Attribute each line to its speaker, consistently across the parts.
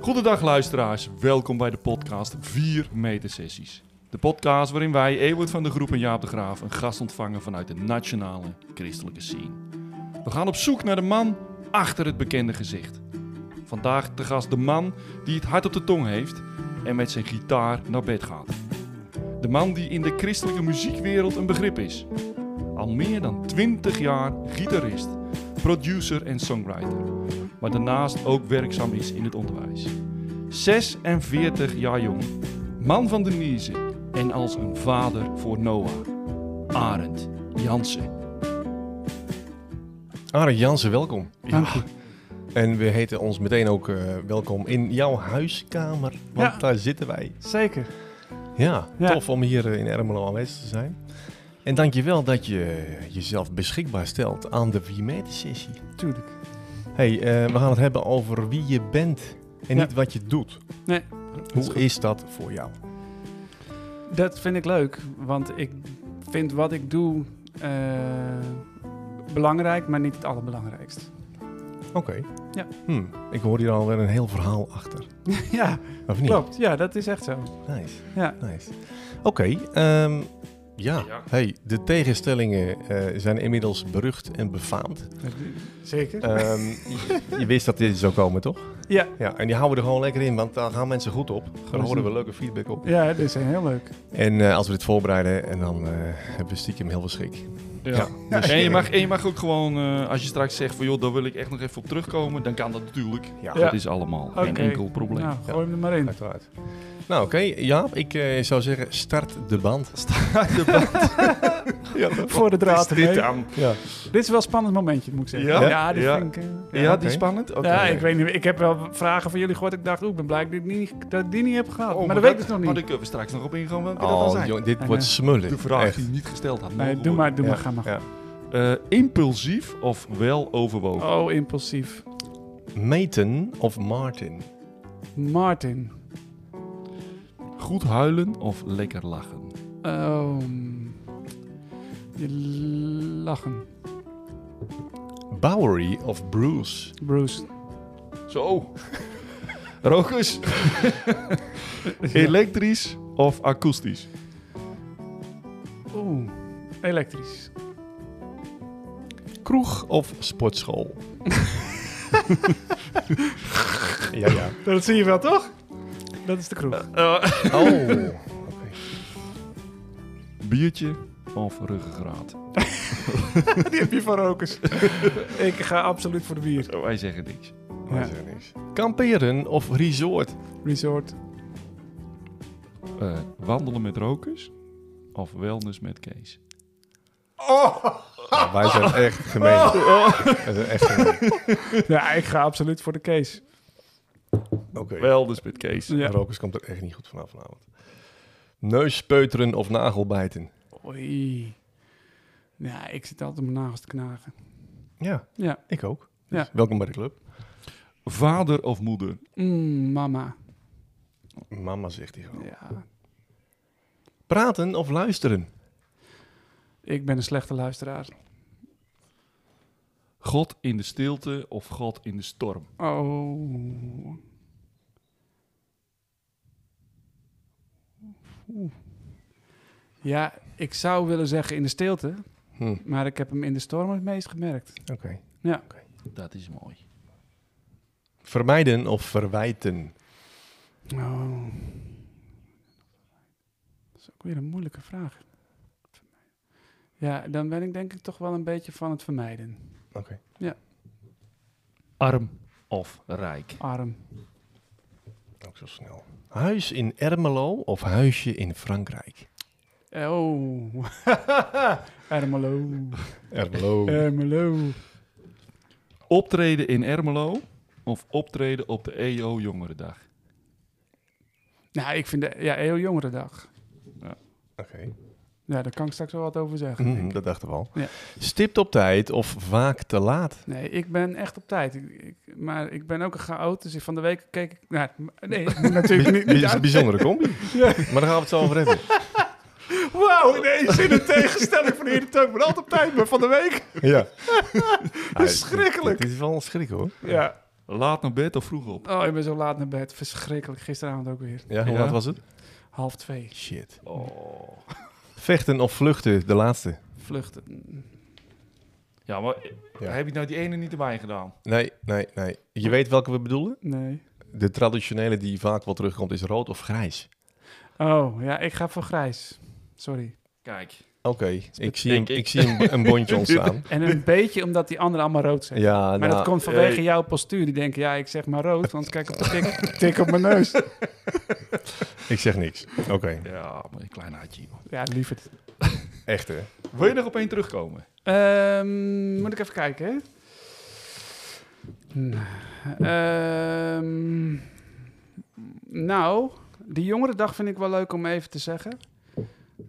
Speaker 1: Goedendag luisteraars, welkom bij de podcast 4 Meter Sessies. De podcast waarin wij, Ewert van de Groep en Jaap de Graaf, een gast ontvangen vanuit de nationale christelijke scene. We gaan op zoek naar de man achter het bekende gezicht. Vandaag te gast de man die het hart op de tong heeft en met zijn gitaar naar bed gaat. De man die in de christelijke muziekwereld een begrip is. Al meer dan 20 jaar gitarist, producer en songwriter maar daarnaast ook werkzaam is in het onderwijs. 46 jaar jong, man van de niezen en als een vader voor Noah. Arend Jansen.
Speaker 2: Arend Jansen, welkom.
Speaker 1: Dank
Speaker 2: je. En we heten ons meteen ook eh, welkom in jouw huiskamer, want
Speaker 3: Ja.
Speaker 2: daar zitten wij.
Speaker 3: Zeker.
Speaker 2: Ja,
Speaker 3: Ja.
Speaker 2: tof om hier eh, in Ermelo aanwezig te zijn. En dankjewel dat je eh, jezelf beschikbaar stelt aan de 4 meter sessie.
Speaker 3: Tuurlijk.
Speaker 2: hey, eh, we gaan het hebben over wie je bent en
Speaker 3: Ja.
Speaker 2: niet wat je doet.
Speaker 3: Nee, is
Speaker 2: Hoe
Speaker 3: goed.
Speaker 2: is dat voor jou?
Speaker 3: Dat vind ik leuk, want ik vind wat ik doe eh, belangrijk, maar niet het allerbelangrijkste.
Speaker 2: Oké.
Speaker 3: Ja.
Speaker 2: Hm, ik hoor hier alweer een heel verhaal achter.
Speaker 3: ja,
Speaker 2: Of niet?
Speaker 3: klopt. Ja, dat is echt zo.
Speaker 2: Nice.
Speaker 3: Ja.
Speaker 2: Nice. Oké, ehm, ja.
Speaker 1: Ja.
Speaker 2: Hey, de tegenstellingen eh, zijn inmiddels berucht en befaamd.
Speaker 3: Zeker.
Speaker 2: Ehm, je, je wist dat dit zou komen, toch?
Speaker 3: Ja.
Speaker 2: Ja, en die houden we er gewoon lekker in, want daar gaan mensen goed op. Daar
Speaker 3: eens
Speaker 2: horen we
Speaker 3: doen.
Speaker 2: leuke feedback op.
Speaker 3: Ja, dit is heel leuk.
Speaker 2: En eh, als we dit voorbereiden, en dan eh, hebben we stiekem heel veel schik. Ja. Dus,
Speaker 1: En, je
Speaker 2: eh,
Speaker 1: mag, en je mag ook gewoon, eh, als je straks zegt van joh, daar wil ik echt nog even op terugkomen, dan kan dat natuurlijk.
Speaker 2: Ja,
Speaker 3: Ja.
Speaker 1: Dat is allemaal geen
Speaker 3: Oké.
Speaker 1: enkel probleem.
Speaker 3: Nou, gooi hem er maar in.
Speaker 2: uiteraard. Nou, oké. Jaap, ik eh, zou zeggen, start de band. ja,
Speaker 3: Voor de draad
Speaker 1: Is dit
Speaker 3: ermee.
Speaker 1: aan?
Speaker 2: ja.
Speaker 3: Dit is wel een spannend momentje, moet ik zeggen.
Speaker 1: Ja?
Speaker 3: ja dit
Speaker 1: Ja.
Speaker 3: vind ik... eh,
Speaker 1: Ja,
Speaker 3: ja.
Speaker 1: die is spannend. Oké.
Speaker 3: Ja, ik weet niet. Ik heb wel vragen van jullie gehoord. Ik dacht, oeh, ik ben blij dat ik die niet, dat ik die niet heb gehad.
Speaker 1: Oh,
Speaker 3: maar dat weet ik dus nog
Speaker 1: Maar
Speaker 3: niet.
Speaker 1: daar kunnen we straks nog op ingaan welke dat dan
Speaker 2: Oh,
Speaker 1: zijn.
Speaker 2: jong, dit
Speaker 3: En,
Speaker 2: wordt
Speaker 3: eh,
Speaker 2: smullen.
Speaker 1: De vraag
Speaker 2: Echt.
Speaker 1: die je niet gesteld had.
Speaker 3: Nee,
Speaker 1: mogen
Speaker 3: doe
Speaker 1: worden.
Speaker 3: maar, doe maar,
Speaker 2: Ja.
Speaker 3: ga maar.
Speaker 2: Ja.
Speaker 1: Eh, impulsief of wel overwogen?
Speaker 3: Oh, impulsief.
Speaker 2: Meten of Martin?
Speaker 3: Martin.
Speaker 1: Goed huilen of lekker lachen?
Speaker 3: Ehm, je lachen.
Speaker 2: Bowery of Bruce?
Speaker 3: Bruce.
Speaker 1: Zo. Rokus. Elektrisch of akoestisch?
Speaker 3: Oeh, elektrisch.
Speaker 2: Kroeg of sportschool? ja, ja.
Speaker 3: Dat zie je wel, toch? Dat is de kroeg.
Speaker 1: Eh.
Speaker 2: Oh.
Speaker 1: Biertje of ruggengraat?
Speaker 3: Die heb je van rokers. ik ga absoluut voor de bier.
Speaker 1: Wij zeggen niks.
Speaker 3: Ja.
Speaker 2: Kamperen of resort?
Speaker 3: Resort.
Speaker 1: Eh, wandelen met Rokus of wellness met Kees?
Speaker 2: wij zijn echt gemeen. Wij zijn echt gemeen.
Speaker 3: Ja, ik ga absoluut voor de case.
Speaker 2: Oké.
Speaker 1: Wellness met Kees.
Speaker 3: Ja.
Speaker 2: Rokers komt er echt niet goed vanaf vanavond. Neuspeuteren of nagelbijten?
Speaker 3: Oei. Ja, ik zit altijd mijn nagels te knagen.
Speaker 2: Ja,
Speaker 3: Ja.
Speaker 2: ik ook.
Speaker 3: Ja.
Speaker 2: Dus Welkom bij de club.
Speaker 1: Vader of moeder?
Speaker 3: Mm, mama.
Speaker 2: Mama zegt hij gewoon.
Speaker 3: Ja.
Speaker 2: Praten of luisteren?
Speaker 3: Ik ben een slechte luisteraar.
Speaker 1: God in de stilte of God in de storm?
Speaker 3: Oh. Oeh. Ja, ik zou willen zeggen in de stilte,
Speaker 2: Hm.
Speaker 3: maar ik heb hem in de storm het meest gemerkt.
Speaker 2: Oké.
Speaker 3: Ja.
Speaker 1: Dat is mooi.
Speaker 2: Vermijden of verwijten?
Speaker 3: Oh. Dat is ook weer een moeilijke vraag. Ja, dan ben ik denk ik toch wel een beetje van het vermijden.
Speaker 2: Oké.
Speaker 1: Arm of rijk?
Speaker 3: Arm.
Speaker 2: Ook zo snel. Huis in Ermelo of huisje in Frankrijk?
Speaker 3: Oh. Ermelo.
Speaker 2: Ermelo.
Speaker 3: Eh. Ermelo.
Speaker 1: Optreden in Ermelo of optreden op de EO Jongerendag?
Speaker 3: Nou, ik vind de ja, heel jongere dag.
Speaker 2: Oké.
Speaker 3: Ja, daar kan ik straks wel wat over zeggen.
Speaker 2: Mhm,
Speaker 3: denk ik.
Speaker 2: dat dachten we al.
Speaker 3: Ja.
Speaker 2: Stipt op tijd of vaak te laat?
Speaker 3: Nee, ik ben echt op tijd. Ik, ik- maar ik ben ook een chaot, dus van de week keek ik naar... Nee, ik moet natuurlijk niet,
Speaker 2: Dit is
Speaker 3: niet
Speaker 2: een
Speaker 3: uit-
Speaker 2: bijzondere combi. Maar daar gaan we het zo over hebben.
Speaker 1: Wauw, ineens in een tegenstelling van de heer de Teun. Ik ben altijd op tijd, maar van de week.
Speaker 2: Ja.
Speaker 1: Dat is schrikkelijk.
Speaker 2: Het is wel schrik hoor.
Speaker 3: Ja.
Speaker 1: Laat naar bed of vroeg op?
Speaker 3: Oh, ik ben zo laat naar bed. Verschrikkelijk. Gisteravond ook weer.
Speaker 2: Ja, hoe
Speaker 1: Ja.
Speaker 2: laat was het?
Speaker 3: Half twee.
Speaker 2: Shit.
Speaker 1: Oh.
Speaker 2: Vechten of vluchten, de laatste.
Speaker 3: Vluchten.
Speaker 1: Ja, maar
Speaker 2: Ja.
Speaker 1: heb je nou die ene niet erbij gedaan?
Speaker 2: Nee, nee, nee. Je weet welke we bedoelen?
Speaker 3: Nee.
Speaker 2: De traditionele die vaak wel terugkomt is rood of grijs.
Speaker 3: Oh, ja, ik ga voor grijs. Sorry.
Speaker 1: Kijk.
Speaker 2: Oké, ik zie,
Speaker 1: denk
Speaker 2: een,
Speaker 1: ik.
Speaker 2: ik zie een, een bondje ontstaan.
Speaker 3: En een beetje omdat die anderen allemaal rood zijn.
Speaker 2: Ja,
Speaker 3: maar
Speaker 2: nou,
Speaker 3: dat komt vanwege
Speaker 1: eh.
Speaker 3: jouw postuur. Die denken, ja, ik zeg maar rood, want kijk op de tik, tik op mijn neus.
Speaker 2: ik zeg niks. Oké,
Speaker 1: Ja, maar een klein hartje. joh.
Speaker 3: Ja, lieverd.
Speaker 2: echt hè.
Speaker 1: Wil je nog op één terugkomen?
Speaker 3: Ehm, moet ik even kijken, hè? Nou, ehm, nou, die jongerendag vind ik wel leuk om even te zeggen.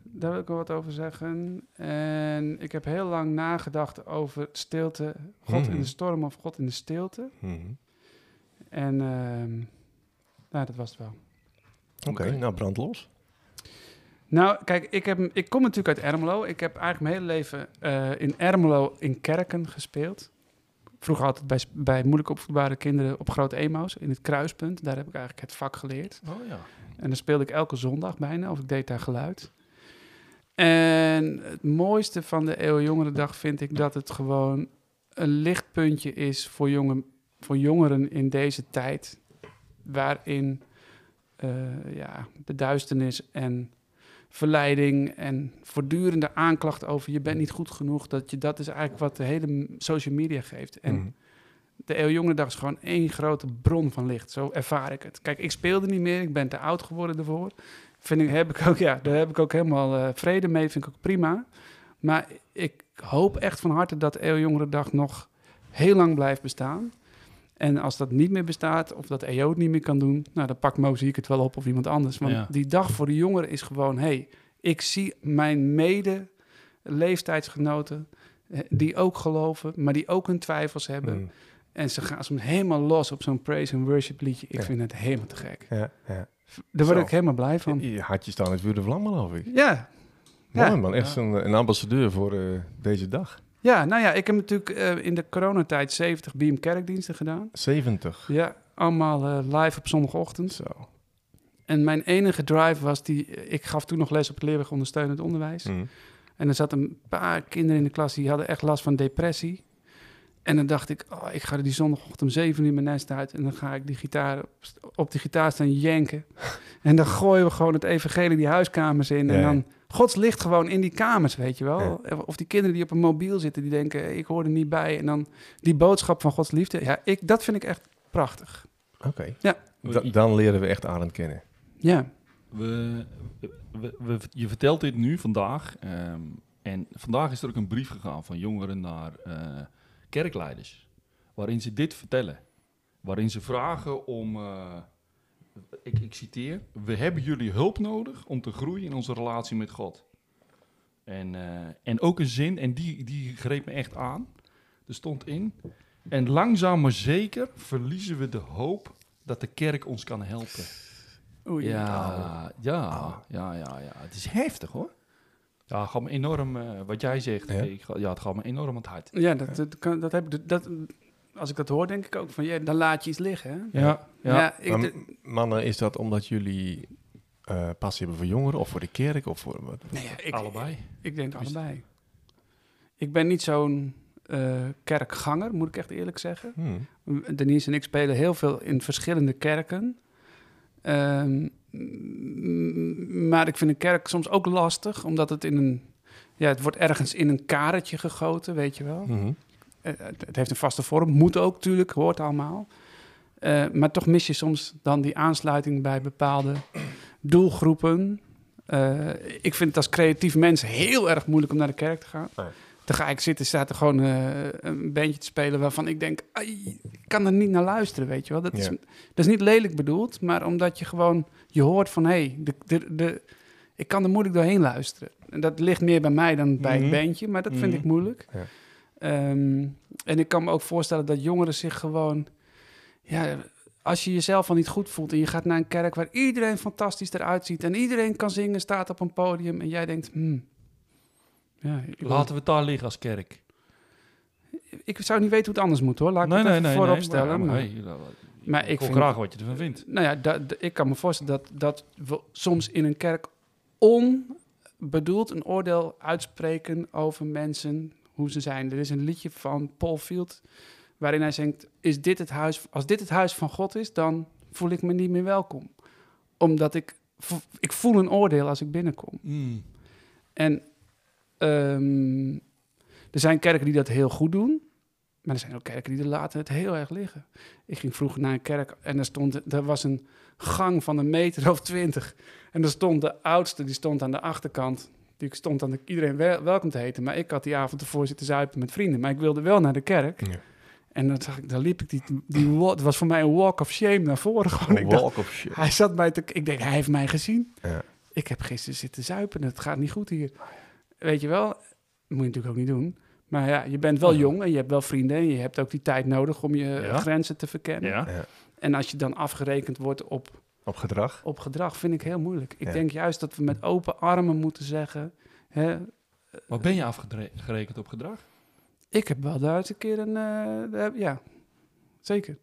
Speaker 3: Daar wil ik wel wat over zeggen. En ik heb heel lang nagedacht over stilte. God in
Speaker 2: Mhm.
Speaker 3: de storm of God in de stilte.
Speaker 2: Mhm.
Speaker 3: En ehm, nou, dat was het wel.
Speaker 2: Oké, nou brand los.
Speaker 3: Nou, kijk, ik, heb, ik kom natuurlijk uit Ermelo. Ik heb eigenlijk mijn hele leven eh, in Ermelo in kerken gespeeld. Vroeger altijd bij, s- bij moeilijk opvoedbare kinderen op Groot Emo's in het kruispunt. Daar heb ik eigenlijk het vak geleerd.
Speaker 1: Oh ja.
Speaker 3: En dan speelde ik elke zondag bijna, of ik deed daar geluid. En het mooiste van de Eeuw Jongerendag vind ik dat het gewoon een lichtpuntje is voor, jongen, voor jongeren in deze tijd. Waarin eh, ja, de duisternis en verleiding en voortdurende aanklacht over je bent niet goed genoeg. Dat, je, dat is eigenlijk wat de hele m- social media geeft. En
Speaker 2: Mhm.
Speaker 3: de Eeuw Jongerendag is gewoon één grote bron van licht. Zo ervaar ik het. Kijk, ik speelde niet meer. Ik ben te oud geworden ervoor. Vind ik, heb ik ook, ja, daar heb ik ook helemaal eh, vrede mee. Vind ik ook prima. Maar ik hoop echt van harte dat de Eeuw Jongerendag nog heel lang blijft bestaan. En als dat niet meer bestaat, of dat EO het niet meer kan doen... nou, dan pakt Mozaïek het wel op of iemand anders. Want
Speaker 1: Ja.
Speaker 3: die dag voor de jongeren is gewoon... hey, ik zie mijn mede-leeftijdsgenoten... eh, die ook geloven, maar die ook hun twijfels hebben...
Speaker 2: Mhm.
Speaker 3: En ze gaan soms helemaal los op zo'n praise and worship liedje. Ik
Speaker 2: Ja.
Speaker 3: vind het helemaal te gek.
Speaker 2: Ja, ja.
Speaker 3: Daar
Speaker 2: Zo.
Speaker 3: word ik helemaal blij van.
Speaker 2: Je had je staan het vuur de vlam geloof ik.
Speaker 3: Ja. Ja.
Speaker 2: Mooi man, echt
Speaker 1: Ja.
Speaker 2: een, een ambassadeur voor eh, deze dag.
Speaker 3: ja, nou ja, ik heb natuurlijk eh, in de coronatijd 70 BIM kerkdiensten gedaan.
Speaker 2: 70.
Speaker 3: Ja, allemaal eh, live op zondagochtend.
Speaker 2: Zo.
Speaker 3: En mijn enige drive was die... eh, Ik gaf toen nog les op het leerweg ondersteunend onderwijs.
Speaker 2: Mhm.
Speaker 3: En er zaten een paar kinderen in de klas die hadden echt last van depressie. En dan dacht ik, oh, ik ga die zondagochtend om 7 uur mijn nest uit. En dan ga ik die gitaar op, op die gitaar staan janken. en dan gooien we gewoon het evangelie die huiskamers in.
Speaker 2: Ja,
Speaker 3: En
Speaker 2: ja.
Speaker 3: dan, Gods licht gewoon in die kamers, weet je wel. Of die kinderen die op een mobiel zitten, die denken, ik hoor er niet bij. En dan die boodschap van Gods liefde. Ja, ik, dat vind ik echt prachtig.
Speaker 2: Oké,
Speaker 3: Ja.
Speaker 2: Da- dan leren we echt Arend kennen.
Speaker 3: Ja,
Speaker 1: We, we, we- je vertelt dit nu vandaag. ehm, en vandaag is er ook een brief gegaan van jongeren naar eh, kerkleiders. Waarin ze dit vertellen. Waarin ze vragen om. eh, ik, ik citeer. We hebben jullie hulp nodig om te groeien in onze relatie met God. En, eh, en ook een zin, en die, die greep me echt aan. Er stond in. En langzaam maar zeker verliezen we de hoop dat de kerk ons kan helpen.
Speaker 3: Oei.
Speaker 1: Ja, ja, ja, ja, ja. Het is heftig hoor. Ja, het gaat me enorm, eh, wat jij zegt,
Speaker 2: Ja?
Speaker 1: ik ga- ja, het gaat me enorm aan het hart.
Speaker 3: ja dat, dat, kan- dat heb ik... Dat, als ik dat hoor, denk ik ook van, ja, dan laat je iets liggen. hè?
Speaker 1: Ja, ja.
Speaker 3: Ja, ik,
Speaker 2: Maar m- mannen, is dat omdat jullie eh, passie hebben voor jongeren of voor de kerk of voor wat?
Speaker 3: nee, ja, ik,
Speaker 1: allebei.
Speaker 3: Ik denk
Speaker 1: Tenminste.
Speaker 3: allebei. Ik ben niet zo'n eh, kerkganger, moet ik echt eerlijk zeggen.
Speaker 2: Hmm.
Speaker 3: Denise en ik spelen heel veel in verschillende kerken. Ehm, m- maar ik vind een kerk soms ook lastig, omdat het in een. Ja, het wordt ergens in een karretje gegoten, weet je wel.
Speaker 2: Mhm.
Speaker 3: Eh, het, het heeft een vaste vorm, moet ook, tuurlijk, hoort allemaal. Eh, maar toch mis je soms dan die aansluiting bij bepaalde doelgroepen. Eh, ik vind het als creatief mens heel erg moeilijk om naar de kerk te gaan.
Speaker 2: Nee.
Speaker 3: Dan ga ik zitten, staat er gewoon eh, een bandje te spelen waarvan ik denk, "Ai, ik kan er niet naar luisteren, weet je wel. Dat, is,
Speaker 2: Ja.
Speaker 3: dat is niet lelijk bedoeld, maar omdat je gewoon, je hoort van, hé, hey, de, de, de, ik kan er moeilijk doorheen luisteren. En dat ligt meer bij mij dan bij
Speaker 1: Mhm.
Speaker 3: het bandje, maar dat vind
Speaker 1: Mhm.
Speaker 3: ik moeilijk.
Speaker 2: Ja.
Speaker 3: Ehm, en ik kan me ook voorstellen dat jongeren zich gewoon ja, als je jezelf al niet goed voelt en je gaat naar een kerk waar iedereen fantastisch eruit ziet en iedereen kan zingen, staat op een podium en jij denkt, hmm, ja, ik,
Speaker 4: Laten we het daar liggen als kerk.
Speaker 3: ik zou niet weten hoe het anders moet hoor. Laat ik
Speaker 1: nee,
Speaker 3: het
Speaker 1: nee,
Speaker 3: even
Speaker 1: nee.
Speaker 3: voorop
Speaker 1: nee,
Speaker 3: stellen.
Speaker 1: maar,
Speaker 3: maar-
Speaker 1: hey, dat-
Speaker 3: Maar
Speaker 1: ik
Speaker 3: ik
Speaker 1: hoor
Speaker 3: vind-
Speaker 1: graag wat je ervan vindt.
Speaker 3: Nou ja, da- da- ik kan me voorstellen dat, dat we soms in een kerk onbedoeld een oordeel uitspreken over mensen, hoe ze zijn. Er is een liedje van Paul Field waarin hij zingt, is dit het huis, als dit het huis van God is, dan voel ik me niet meer welkom. Omdat ik, vo- ik voel een oordeel als ik binnenkom.
Speaker 1: Mm.
Speaker 3: En ehm, er zijn kerken die dat heel goed doen. Maar er zijn ook kerken die er laten het heel erg liggen. Ik ging vroeger naar een kerk en daar stond, er was een gang van een meter of twintig. En daar stond de oudste, die stond aan de achterkant. Die stond aan de, iedereen wel- welkom te heten. Maar ik had die avond ervoor zitten zuipen met vrienden. Maar ik wilde wel naar de kerk.
Speaker 2: Ja.
Speaker 3: En dan zag ik, daar liep ik die, die wa- het was voor mij een walk of shame naar voren. Gewoon. Ik dacht,
Speaker 2: Walk of shit.
Speaker 3: hij zat mij te... Ik denk, hij heeft mij gezien.
Speaker 2: Ja.
Speaker 3: Ik heb gisteren zitten zuipen. Het gaat niet goed hier. Weet je wel? Moet je natuurlijk ook niet doen. Maar ja, je bent wel
Speaker 1: Ja.
Speaker 3: jong en je hebt wel vrienden. En je hebt ook die tijd nodig om je eh, grenzen te verkennen.
Speaker 1: Ja.
Speaker 3: En eh, als je dan afgerekend wordt op,
Speaker 2: Op gedrag.
Speaker 3: op gedrag, vind ik heel moeilijk. Ik
Speaker 2: Ja.
Speaker 3: denk juist dat we met open armen moeten zeggen... Hè,
Speaker 1: Maar ben je afgerekend op gedrag?
Speaker 3: ik heb wel daar eens een keer een... eh, daar- ja, zeker.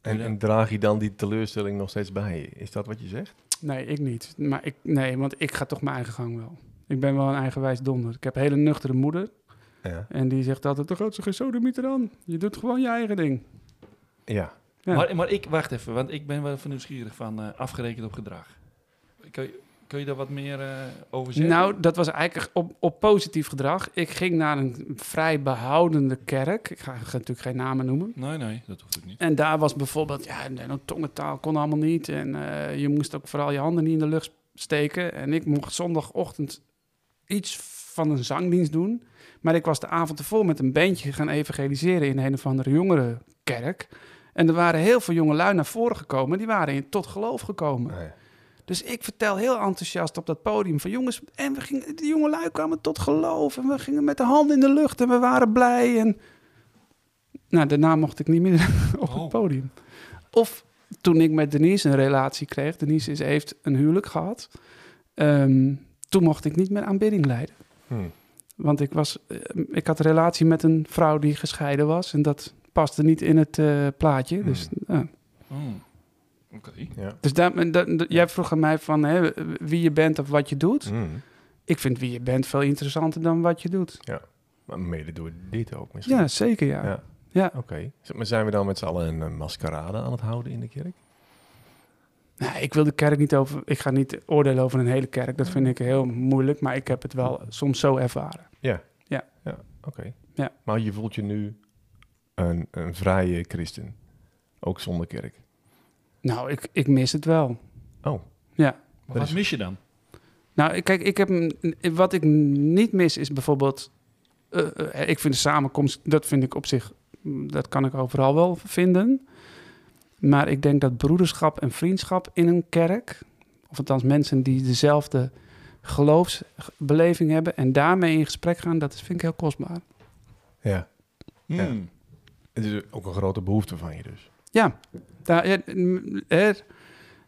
Speaker 2: En,
Speaker 1: Ja.
Speaker 2: en draag je dan die teleurstelling nog steeds bij je? Is dat wat je zegt?
Speaker 3: Nee, ik niet. Maar ik, nee, want ik ga toch mijn eigen gang wel. Ik ben wel een eigenwijs donder. Ik heb een hele nuchtere moeder.
Speaker 2: Ja.
Speaker 3: En die zegt altijd, de grootste gesodemieter aan. Je doet gewoon je eigen ding.
Speaker 2: Ja.
Speaker 3: Ja.
Speaker 1: Maar, maar ik, wacht even, want ik ben wel van nieuwsgierig van eh, afgerekend op gedrag. Kun je, kun je daar wat meer eh, over zeggen?
Speaker 3: Nou, dat was eigenlijk op, op positief gedrag. Ik ging naar een vrij behoudende kerk. Ik ga, ga natuurlijk geen namen noemen.
Speaker 1: Nee, nee, dat hoeft ook niet.
Speaker 3: En daar was bijvoorbeeld, ja, nee, nou, tongentaal kon allemaal niet. En eh, je moest ook vooral je handen niet in de lucht steken. En ik mocht zondagochtend iets van een zangdienst doen. Maar ik was de avond ervoor met een bandje gaan evangeliseren in een of andere jongerenkerk. En er waren heel veel jongelui naar voren gekomen. Die waren in, tot geloof gekomen.
Speaker 2: Nee.
Speaker 3: Dus ik vertel heel enthousiast op dat podium van jongens. En we gingen, de jongelui kwamen tot geloof. En we gingen met de handen in de lucht en we waren blij. En nou, daarna mocht ik niet meer op
Speaker 1: Oh.
Speaker 3: het podium. Of toen ik met Denise een relatie kreeg. Denise is, heeft een huwelijk gehad. ehm, toen mocht ik niet meer aanbidding leiden.
Speaker 2: Hm.
Speaker 3: Want ik, was, eh, ik had een relatie met een vrouw die gescheiden was. En dat paste niet in het eh, plaatje. Dus ja.
Speaker 1: Oh, Oké.
Speaker 2: Ja.
Speaker 3: Dus daar, en dat- dat- jij vroeg aan mij van hè, wie je bent of wat je doet.
Speaker 2: Hm.
Speaker 3: Ik vind wie je bent veel interessanter dan wat je doet.
Speaker 2: Maar mede door dit ook misschien.
Speaker 3: Ja, zeker ja.
Speaker 2: Ja.
Speaker 3: Ja.
Speaker 2: Oké. Z- Maar zijn we dan met z'n allen een eh, maskerade aan het houden in de kerk?
Speaker 3: Nou, ik wil de kerk niet over. Ik ga niet oordelen over een hele kerk. Dat vind ik heel moeilijk. Maar ik heb het wel soms zo ervaren.
Speaker 2: Oké.
Speaker 3: Ja.
Speaker 2: Maar je voelt je nu een, een vrije christen. Ook zonder kerk.
Speaker 3: Nou, ik, ik mis het wel.
Speaker 2: Oh.
Speaker 1: Maar wat mis je dan?
Speaker 3: Nou, kijk, ik heb een, wat ik niet mis is bijvoorbeeld. eh, eh, ik vind de samenkomst, dat vind ik op zich, mm, dat kan ik overal wel vinden. Maar ik denk dat broederschap en vriendschap in een kerk, of althans mensen die dezelfde geloofsbeleving hebben en daarmee in gesprek gaan, dat is- vind ik heel kostbaar.
Speaker 2: Ja. Ja.
Speaker 1: Hmm.
Speaker 2: Het is ook een grote behoefte van je dus.
Speaker 3: Daar, ja, mm, er,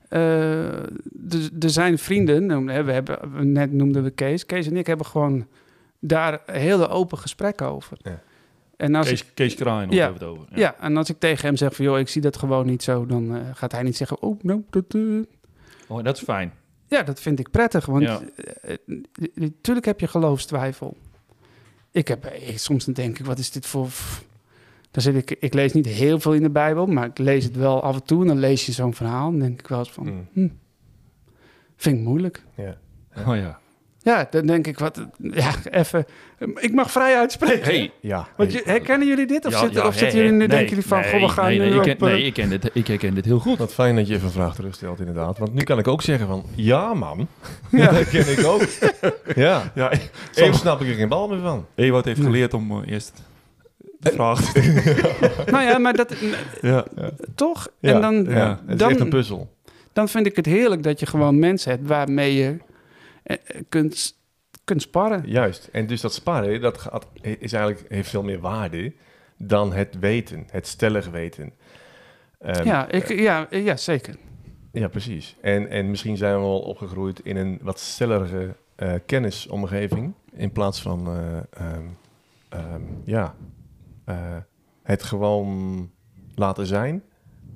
Speaker 3: eh, er- er zijn vrienden, nou, hè, we hebben, net noemden we Kees. Kees en ik hebben gewoon daar hele open gesprekken over.
Speaker 2: Ja.
Speaker 3: En als ik,
Speaker 1: Kees, Kees Kraaien,
Speaker 3: Nou, Ja.
Speaker 1: ja. hebben we het over.
Speaker 3: ja. en als ik tegen hem zeg van, joh, ik zie dat gewoon niet zo, dan eh, gaat hij niet zeggen, oh, nou, dat... eh."
Speaker 1: Oh, dat is fijn.
Speaker 3: Ja, dat vind ik prettig, want
Speaker 1: Ja.
Speaker 3: natuurlijk heb je geloofstwijfel. Ik heb, eh, ik- soms dan denk ik, wat is dit voor... f- Dan zit ik, ik lees niet heel veel in de Bijbel, maar ik lees het wel af en toe. En dan lees je zo'n verhaal en dan denk ik wel eens van,
Speaker 2: Hm.
Speaker 3: Vind ik moeilijk.
Speaker 2: Ja.
Speaker 1: Oh ja.
Speaker 3: Ja, dan denk ik wat. Ja, even. Ik mag vrij uitspreken.
Speaker 1: Hey.
Speaker 2: Ja.
Speaker 3: Want je, herkennen jullie dit? Of
Speaker 1: Ja,
Speaker 3: zitten,
Speaker 1: ja,
Speaker 3: of
Speaker 1: hè,
Speaker 3: zitten
Speaker 1: hè.
Speaker 3: jullie nu,
Speaker 1: Nee,
Speaker 3: denken jullie van,
Speaker 1: nee,
Speaker 3: goh, we gaan
Speaker 1: nee, nee,
Speaker 3: nu
Speaker 1: ik,
Speaker 3: op,
Speaker 1: ken-
Speaker 3: eh,
Speaker 1: nee, ik, ken dit, ik herken dit heel goed.
Speaker 2: Wat fijn dat je even een vraag terugstelt inderdaad. Want nu kan ik ook zeggen van... Ja man.
Speaker 3: Ja.
Speaker 2: dat ken ik ook. ja.
Speaker 1: Ja,
Speaker 2: Soms snap ik er geen bal meer van.
Speaker 1: Ewout heeft geleerd om eh, eerst
Speaker 3: Eh,
Speaker 1: de vraag...
Speaker 3: Nou ja, maar dat. n-
Speaker 1: ja.
Speaker 3: Toch?
Speaker 2: Ja,
Speaker 3: en dan,
Speaker 2: ja, het is
Speaker 3: dan-
Speaker 2: echt een puzzel.
Speaker 3: dan vind ik het heerlijk dat je gewoon mensen hebt waarmee je eh, eh, kunt, kunt sparren.
Speaker 2: Juist. En dus dat sparen, dat gaat, is eigenlijk, heeft veel meer waarde dan het weten, het stellig weten. Ehm,
Speaker 3: ja, ik, ja, eh, ja, zeker.
Speaker 2: Ja, precies. En, en misschien zijn we wel opgegroeid in een wat stellige eh, kennisomgeving. In plaats van eh, ehm, ehm, ja, eh, het gewoon laten zijn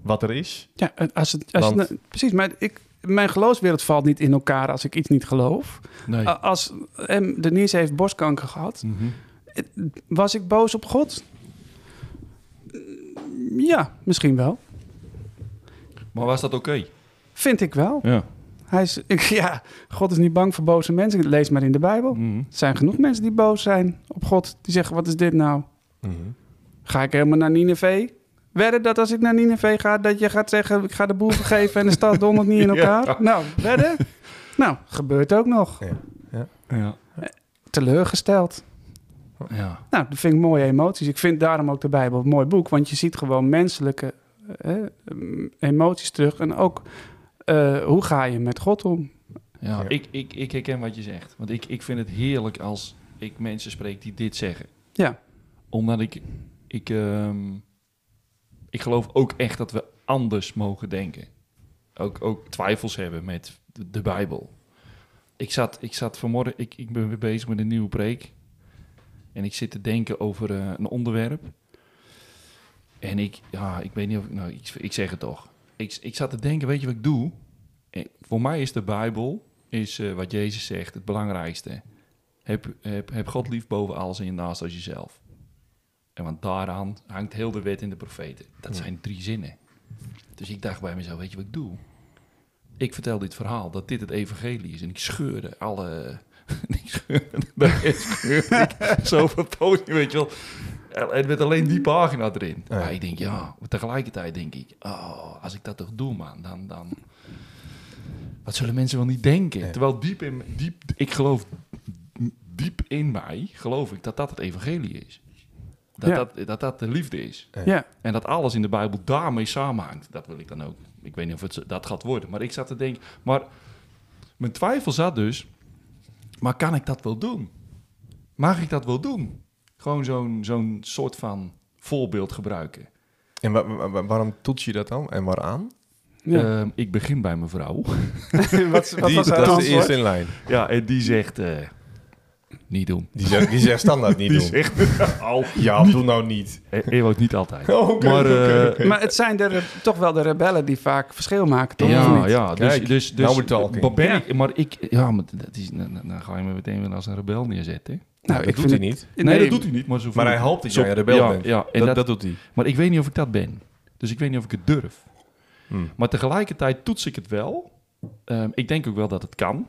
Speaker 2: wat er is.
Speaker 3: Ja, eh, als het, als het-
Speaker 2: Want-
Speaker 3: nou, precies, maar ik, mijn geloofswereld valt niet in elkaar als ik iets niet geloof.
Speaker 1: Nee.
Speaker 3: A- Als em, Denise heeft borstkanker gehad,
Speaker 1: Mhm.
Speaker 3: was ik boos op God? Ja, misschien wel.
Speaker 1: Maar was dat oké?
Speaker 3: Vind ik wel.
Speaker 1: Ja.
Speaker 3: Hij is, ik- ja, God is niet bang voor boze mensen. Lees maar in de Bijbel.
Speaker 1: Mhm.
Speaker 3: Er zijn genoeg mensen die boos zijn op God. Die zeggen, wat is dit nou? Ga ik helemaal naar Nineveh? Wedden dat als ik naar Nineveh ga, dat je gaat zeggen... ik ga de boel vergeven en de stad dondert niet in elkaar?
Speaker 1: Ja.
Speaker 3: Nou, wedden? Nou, gebeurt ook nog.
Speaker 1: Ja.
Speaker 3: Teleurgesteld.
Speaker 1: Ja.
Speaker 3: Nou, dat vind ik mooie emoties. Ik vind daarom ook de Bijbel een mooi boek. Want je ziet gewoon menselijke eh, ehm, emoties terug. En ook, eh, hoe ga je met God om?
Speaker 1: Ja,
Speaker 2: Ja.
Speaker 1: Ik, ik, ik herken wat je zegt. Want ik, ik vind het heerlijk als ik mensen spreek die dit zeggen.
Speaker 3: Ja.
Speaker 1: Omdat ik... Ik, ehm, ik geloof ook echt dat we anders mogen denken. Ook, ook twijfels hebben met de, de Bijbel. Ik zat, ik zat vanmorgen... Ik, ik ben weer bezig met een nieuwe preek. En ik zit te denken over eh, een onderwerp. En ik... Ja, ik weet niet of ik... Nou, ik, ik zeg het toch. Ik, ik zat te denken, weet je wat ik doe? Eh, voor mij is de Bijbel, is eh, wat Jezus zegt, het belangrijkste. Heb, heb, heb God lief boven alles en je naast als jezelf. En want daaraan hangt heel de wet in de profeten. Dat
Speaker 2: Ja.
Speaker 1: zijn drie zinnen. Dus ik dacht bij mezelf, weet je wat ik doe? Ik vertel dit verhaal, dat dit het evangelie is. En ik scheurde alle... ik scheurde, daar scheurde ik zoveel pogingen, weet je wel. En- En met alleen die pagina erin.
Speaker 2: Ja.
Speaker 1: Maar ik denk, ja, maar tegelijkertijd denk ik... Oh, als ik dat toch doe, man, dan... dan wat zullen mensen wel niet denken?
Speaker 2: Ja.
Speaker 1: Terwijl diep in diep, ik geloof diep in mij geloof ik dat dat het evangelie is. Dat,
Speaker 3: Ja.
Speaker 1: dat, dat dat de liefde is.
Speaker 2: Ja.
Speaker 3: Ja.
Speaker 1: En dat alles in de Bijbel daarmee samenhangt. Dat wil ik dan ook. Ik weet niet of het zo- dat gaat worden. Maar ik zat te denken. Maar mijn twijfel zat dus. Maar kan ik dat wel doen? Mag ik dat wel doen? Gewoon zo'n zo'n soort van voorbeeld gebruiken.
Speaker 2: En wa- wa- wa- waarom toets je dat dan en waaraan?
Speaker 3: Ja.
Speaker 1: Ehm, ik begin bij mijn vrouw.
Speaker 3: wat, wat
Speaker 2: Die,
Speaker 3: was
Speaker 2: dat
Speaker 3: haar
Speaker 2: is
Speaker 3: antwoord?
Speaker 2: de eerste in lijn.
Speaker 1: Ja, en die zegt. eh, niet doen.
Speaker 2: Die zegt, die zegt standaard niet doen.
Speaker 1: zegt. Au.
Speaker 2: Ja, doe nou niet.
Speaker 1: E- Ewout niet altijd.
Speaker 2: Oh, Oké,
Speaker 1: maar eh,
Speaker 3: Maar het zijn de re- toch wel de rebellen die vaak verschil maken, toch? Of
Speaker 1: ja,
Speaker 3: niet?
Speaker 1: ja, dus,
Speaker 2: Kijk,
Speaker 1: dus, dus
Speaker 2: nou we're talking.
Speaker 1: wat ben
Speaker 3: Ja.
Speaker 1: ik, maar ik, ja, maar dat is, dan, dan- dan ga je me meteen weer als een rebel neerzetten. hè?
Speaker 2: Nou, dat doet hij
Speaker 3: het-
Speaker 2: niet.
Speaker 1: Nee, dat doet hij niet, maar zo.
Speaker 2: Maar
Speaker 1: voel
Speaker 2: hij
Speaker 1: ik-
Speaker 2: hoopt dat
Speaker 1: zo-
Speaker 2: jij een rebel
Speaker 1: ja,
Speaker 2: bent.
Speaker 1: Ja, en
Speaker 2: Dat,
Speaker 1: dat,
Speaker 2: dat doet hij.
Speaker 1: maar ik weet niet of ik dat ben. Dus ik weet niet of ik het durf.
Speaker 2: Hm.
Speaker 1: Maar tegelijkertijd toets ik het wel. Ehm, ik denk ook wel dat het kan.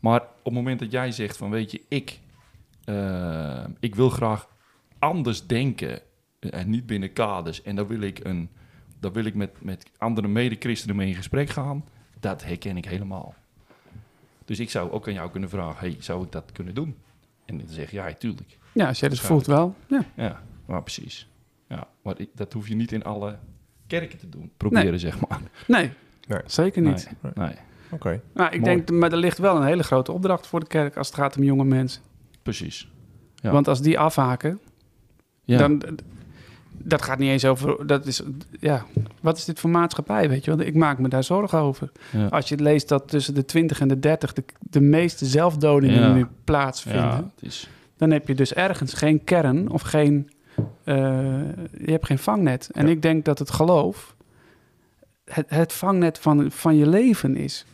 Speaker 1: Maar op het moment dat jij zegt van weet je, ik, ehm, ik wil graag anders denken eh, en niet binnen kaders. En daar wil ik, een, daar wil ik met, met andere mede-christenen mee in gesprek gaan. Dat herken ik helemaal. Dus ik zou ook aan jou kunnen vragen, hey, zou ik dat kunnen doen? En dan zeg jij, ja, tuurlijk.
Speaker 3: Ja, als jij dat voelt wel. Ja.
Speaker 1: Ja, maar precies. Ja, maar ik- dat hoef je niet in alle kerken te doen. Proberen, zeg maar.
Speaker 3: Nee,
Speaker 2: Nee.
Speaker 3: zeker niet.
Speaker 1: Nee,
Speaker 2: Oké.
Speaker 3: Nou, ik
Speaker 1: Mooi.
Speaker 3: denk, maar er ligt wel een hele grote opdracht voor de kerk als het gaat om jonge mensen.
Speaker 1: precies. Ja.
Speaker 3: Want als die afhaken,
Speaker 1: Ja.
Speaker 3: dan... Dat gaat niet eens over... Dat is, ja, wat is dit voor maatschappij, weet je wel? Ik maak me daar zorgen over.
Speaker 1: ja.
Speaker 3: Als je leest dat tussen de 20 en de 30 de, de meeste zelfdodingen
Speaker 1: Ja.
Speaker 3: nu plaatsvinden...
Speaker 1: Ja, het is,
Speaker 3: dan heb je dus ergens geen kern of geen. eh, je hebt geen vangnet. En
Speaker 2: Ja.
Speaker 3: ik denk dat het geloof het, het vangnet van, van je leven is.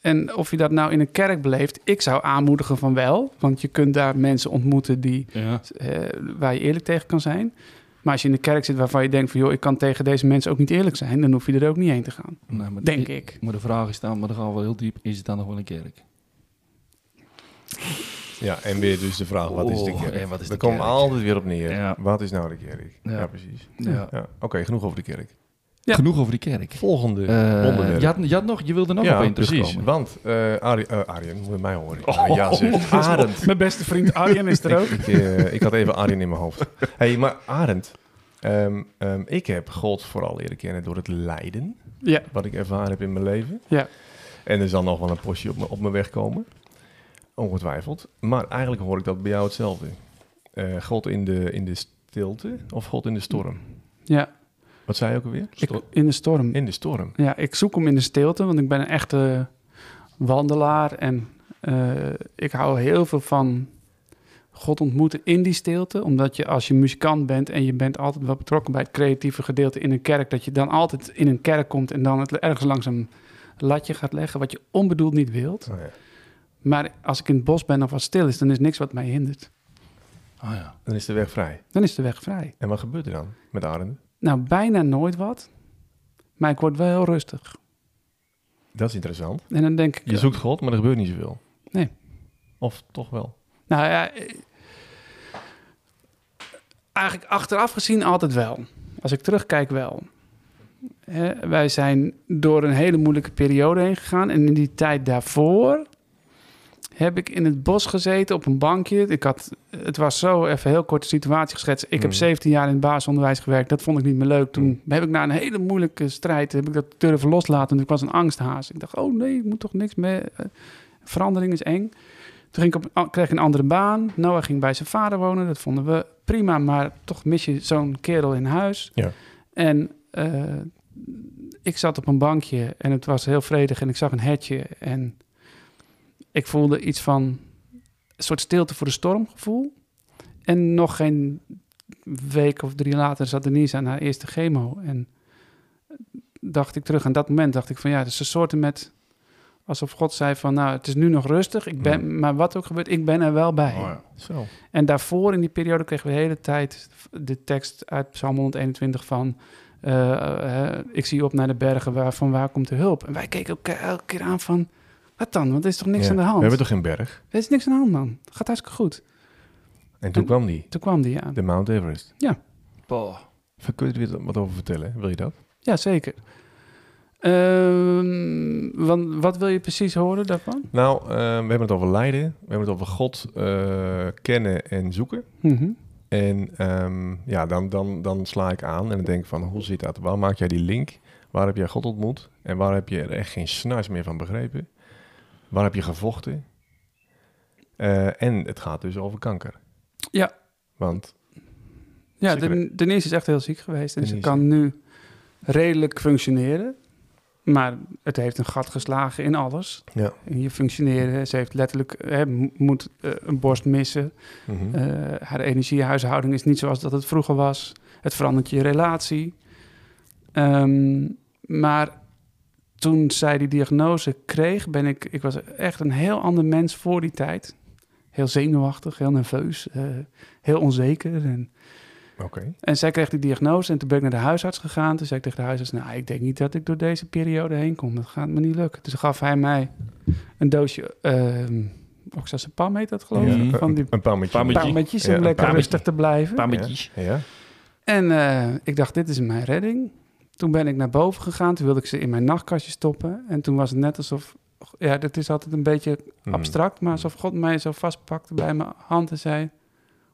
Speaker 3: En of je dat nou in een kerk beleeft, ik zou aanmoedigen van wel. Want je kunt daar mensen ontmoeten die,
Speaker 1: ja.
Speaker 3: eh, waar je eerlijk tegen kan zijn. Maar als je in een kerk zit waarvan je denkt van joh, ik kan tegen deze mensen ook niet eerlijk zijn, dan hoef je er ook niet heen te gaan.
Speaker 1: Nee, Nou, maar
Speaker 3: Denk ik.
Speaker 1: Maar de vraag is dan, maar dan gaan we wel heel diep, is het dan nog wel een kerk?
Speaker 2: Ja, en weer dus de vraag, wat is de
Speaker 1: Oh,
Speaker 2: kerk?
Speaker 1: en wat is
Speaker 2: We
Speaker 1: de
Speaker 2: komen
Speaker 1: kerk?
Speaker 2: altijd weer op neer.
Speaker 1: Ja.
Speaker 2: Wat is nou de kerk? Ja,
Speaker 1: Ja.
Speaker 2: precies.
Speaker 1: Ja.
Speaker 2: Ja. Oké, genoeg over de kerk.
Speaker 3: Ja.
Speaker 1: Genoeg over die kerk.
Speaker 2: Volgende
Speaker 1: Eh,
Speaker 2: onderwerp.
Speaker 1: je, had, je, had nog, je wilde nog op één
Speaker 2: precies.
Speaker 1: terugkomen.
Speaker 2: Want eh Ari- eh, Arjen, moet je mij horen. Ah,
Speaker 1: Oh.
Speaker 2: ja, zeg. Arend.
Speaker 3: Mijn beste vriend Arjen is er ook.
Speaker 2: Ik, eh, ik had even Arjen in mijn hoofd. hey, maar Arend, ehm, ehm, ik heb God vooral leren kennen door het lijden.
Speaker 3: Ja,
Speaker 2: Wat ik ervaren heb in mijn leven.
Speaker 3: Ja.
Speaker 2: En er zal nog wel een postje op me, op me weg komen. Ongetwijfeld. Maar eigenlijk hoor ik dat bij jou hetzelfde. Eh, God in de, in de stilte of God in de storm?
Speaker 3: ja.
Speaker 2: Wat zei je ook alweer?
Speaker 3: Ik- in de storm.
Speaker 2: In de storm.
Speaker 3: Ja, ik zoek hem in de stilte, want ik ben een echte wandelaar. En eh, ik hou heel veel van God ontmoeten in die stilte. Omdat je als je muzikant bent en je bent altijd wel betrokken bij het creatieve gedeelte in een kerk. Dat je dan altijd in een kerk komt en dan het ergens langs een latje gaat leggen wat je onbedoeld niet wilt.
Speaker 2: Oh, ja.
Speaker 3: Maar als ik in het bos ben of wat stil is, dan is niks wat mij hindert.
Speaker 1: Ah ja.
Speaker 2: Dan is de weg vrij.
Speaker 3: Dan is de weg vrij.
Speaker 2: En wat gebeurt er dan met Arend?
Speaker 3: Nou, bijna nooit wat. Maar ik word wel heel rustig.
Speaker 2: Dat is interessant.
Speaker 3: En dan denk ik...
Speaker 2: Je zoekt God, maar er gebeurt niet zoveel.
Speaker 3: Nee.
Speaker 2: Of toch wel.
Speaker 3: Nou ja, eh, eigenlijk achteraf gezien altijd wel. Als ik terugkijk wel. Hè, wij zijn door een hele moeilijke periode heen gegaan. En in die tijd daarvoor heb ik in het bos gezeten op een bankje. Ik had, het was zo even heel korte situatie geschetst. Ik heb
Speaker 2: Mhm.
Speaker 3: 17 jaar in het basisonderwijs gewerkt. Dat vond ik niet meer leuk. Toen heb ik na een hele moeilijke strijd heb ik dat durven loslaten. Want ik was een angsthaas. Ik dacht, oh nee, ik moet toch niks meer. eh, Verandering is eng. Toen ging ik op, a- kreeg ik een andere baan. Noah ging bij zijn vader wonen. Dat vonden we prima, maar toch mis je zo'n kerel in huis.
Speaker 2: Ja.
Speaker 3: En eh, ik zat op een bankje en het was heel vredig en ik zag een hetje. En ik voelde iets van een soort stilte voor de storm gevoel. En nog geen week of drie later zat Denise aan haar eerste chemo. En dacht ik terug aan dat moment, dacht ik van ja, het is een soort met... Alsof God zei van, nou, het is nu nog rustig, ik ben, maar wat ook gebeurt, ik ben er wel bij.
Speaker 1: Oh ja.
Speaker 2: Zo.
Speaker 3: En daarvoor in die periode kregen we de hele tijd de tekst uit Psalm 121 van... eh, eh, ik zie op naar de bergen, waar, van waar komt de hulp? En wij keken elkaar elke keer aan van, wat dan? Want er is toch niks
Speaker 2: Ja.
Speaker 3: aan de hand?
Speaker 2: We hebben toch geen berg?
Speaker 3: Er is niks aan de hand, man. Het gaat hartstikke goed.
Speaker 2: En toen
Speaker 3: En-
Speaker 2: kwam die.
Speaker 3: Toen kwam die aan.
Speaker 2: De Mount Everest.
Speaker 1: Bah.
Speaker 2: Kun je er weer wat over vertellen? Wil je dat?
Speaker 3: Ja, zeker. Ehm, want wat wil je precies horen daarvan?
Speaker 2: Nou, eh, we hebben het over lijden. We hebben het over God eh, kennen en zoeken.
Speaker 3: Mhm.
Speaker 2: En ehm, ja, dan, dan, dan sla ik aan en dan denk ik van, hoe zit dat? Waar maak jij die link? Waar heb jij God ontmoet? En waar heb je er echt geen snuis meer van begrepen? Waar heb je gevochten? Eh, en het gaat dus over kanker.
Speaker 3: Ja.
Speaker 2: Want,
Speaker 3: Ja,
Speaker 2: Zeker.
Speaker 3: Den- Denise is echt heel ziek geweest. En
Speaker 2: Denise,
Speaker 3: ze kan nu redelijk functioneren. Maar het heeft een gat geslagen in alles.
Speaker 2: Ja.
Speaker 3: In je functioneren. Ze heeft letterlijk hè, mo- moet eh, een borst missen.
Speaker 2: mhm.
Speaker 3: Eh, haar energiehuishouding is niet zoals dat het vroeger was. Het verandert je relatie. Ehm, maar toen zij die diagnose kreeg, ben ik... Ik was echt een heel ander mens voor die tijd. Heel zenuwachtig, heel nerveus, eh, heel onzeker. En
Speaker 2: oké.
Speaker 3: en zij kreeg die diagnose en toen ben ik naar de huisarts gegaan. Toen zei ik tegen de huisarts, nou, ik denk niet dat ik door deze periode heen kom. Dat gaat me niet lukken. Dus gaf hij mij een doosje ehm oxazepam, heet dat geloof
Speaker 2: Ja,
Speaker 3: ik?
Speaker 2: een-
Speaker 3: Van die
Speaker 2: Een paar met
Speaker 1: Paar met-
Speaker 3: paar metjes
Speaker 2: Ja,
Speaker 3: om
Speaker 2: een
Speaker 3: lekker
Speaker 2: paar
Speaker 3: rustig te blijven.
Speaker 1: Paar metjes.
Speaker 2: Ja,
Speaker 3: En eh, ik dacht, dit is mijn redding. Toen ben ik naar boven gegaan. Toen wilde ik ze in mijn nachtkastje stoppen. En toen was het net alsof... Ja, dat is altijd een beetje
Speaker 2: Mhm.
Speaker 3: abstract, maar alsof God mij zo vastpakte bij mijn hand en zei...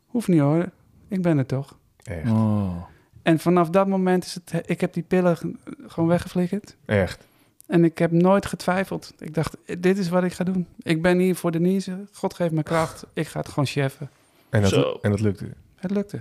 Speaker 3: Hoeft niet hoor, ik ben er toch.
Speaker 2: Echt,
Speaker 1: Oh.
Speaker 3: En vanaf dat moment is het, ik heb die pillen g- gewoon weggeflikkerd.
Speaker 2: echt.
Speaker 3: En ik heb nooit getwijfeld. Ik dacht, dit is wat ik ga doen. Ik ben hier voor Denise. God geeft me kracht. Ik ga het gewoon cheffen.
Speaker 2: En
Speaker 1: Zo.
Speaker 2: dat, en dat lukte.
Speaker 3: Het lukte.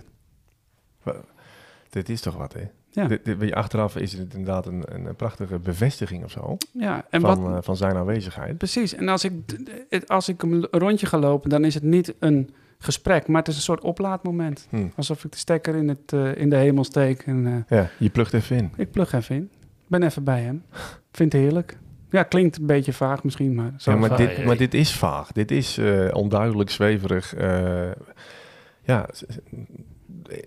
Speaker 2: Dit is toch wat, hè?
Speaker 3: Ja.
Speaker 2: Dit, dit- achteraf is het inderdaad een, een prachtige bevestiging of zo.
Speaker 3: Ja, en
Speaker 2: van,
Speaker 3: wat...
Speaker 2: eh, van zijn aanwezigheid.
Speaker 3: Precies. En als ik, d- d- het- als ik een l- rondje ga lopen, dan is het niet een gesprek, maar het is een soort oplaadmoment.
Speaker 2: Hm.
Speaker 3: Alsof ik de stekker in, het, eh, in de hemel steek en eh,
Speaker 2: Ja, je plukt even in.
Speaker 3: ik plug even in. Ik ben even bij hem. Vind het heerlijk. Ja, klinkt een beetje vaag misschien, maar zo.
Speaker 2: Ja, maar,
Speaker 1: vaag,
Speaker 2: dit,
Speaker 1: hè?
Speaker 2: maar dit is vaag. Dit is eh, onduidelijk, zweverig. eh, ja, z- z-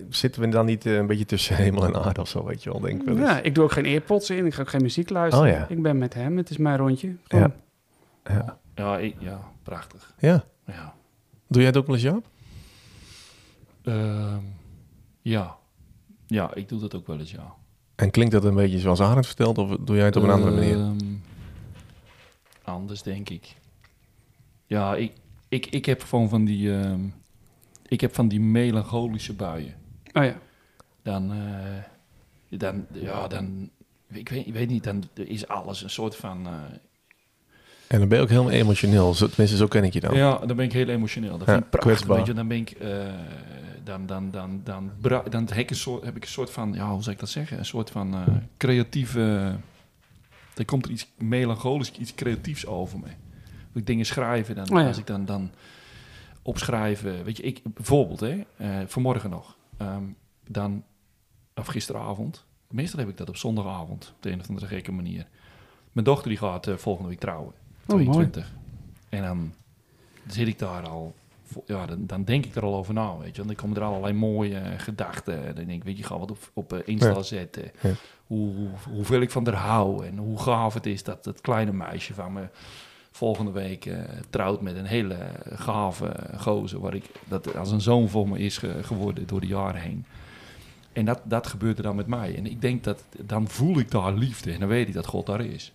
Speaker 2: zitten we dan niet eh, een beetje tussen hemel en aarde of zo, weet je wel, denk ik wel eens.
Speaker 3: Ja, ik doe ook geen earpods in, ik ga ook geen muziek
Speaker 2: Oh
Speaker 3: luisteren.
Speaker 2: ja.
Speaker 3: Ik ben met hem, het is mijn rondje. Gewoon.
Speaker 2: Ja. Ja.
Speaker 1: Ja, ik- ja, prachtig.
Speaker 2: Ja.
Speaker 1: Ja.
Speaker 2: Doe jij het ook wel eens, Jaap?
Speaker 1: Ehm, ja. Ja, ik doe dat ook wel eens, ja.
Speaker 2: En klinkt dat een beetje zoals Arend vertelt, of doe jij het op een andere manier?
Speaker 1: Ehm, anders, denk ik. Ja, ik, ik, ik heb gewoon van die... ehm, ik heb van die melancholische buien.
Speaker 3: Oh ja.
Speaker 1: Dan... eh, dan ja, dan... Ik weet, ik weet niet, dan is alles een soort van... eh,
Speaker 2: En dan ben je ook helemaal emotioneel. Zo- Tenminste, zo ken ik je dan.
Speaker 1: Ja, dan ben ik heel emotioneel. Dat
Speaker 2: Ja,
Speaker 1: vind ik prachtig.
Speaker 2: kwetsbaar.
Speaker 1: Weet je, dan ben ik, eh, dan, dan, dan, dan, bra- dan heb, ik een soort, heb ik een soort van, ja, hoe zou ik dat zeggen? Een soort van eh, creatieve. Er komt er iets melancholisch, iets creatiefs over me. Als ik dingen schrijven, dan,
Speaker 3: Oh ja.
Speaker 1: als ik dan, dan opschrijven. Weet je, ik bijvoorbeeld, hè, eh, vanmorgen nog, ehm, dan, of gisteravond, meestal heb ik dat op zondagavond, op de een of andere gekke manier. Mijn dochter die gaat eh, volgende week trouwen.
Speaker 3: Oh, mooi.
Speaker 1: 22. En dan zit ik daar al. vo- Ja, dan, dan denk ik er al over na, weet je. Want dan komen er allerlei mooie eh, gedachten. Dan denk ik, weet je, ik ga wat op, op eh, Insta
Speaker 2: Ja.
Speaker 1: zetten.
Speaker 2: Ja.
Speaker 1: Hoe, hoe- hoeveel ik van haar hou. En hoe gaaf het is dat dat kleine meisje van me volgende week eh, trouwt met een hele gave gozer. Waar ik, dat als een zoon voor me is ge- geworden door de jaren heen. En dat, dat gebeurde dan met mij. En ik denk dat, dan voel ik daar liefde. En dan weet ik dat God daar is.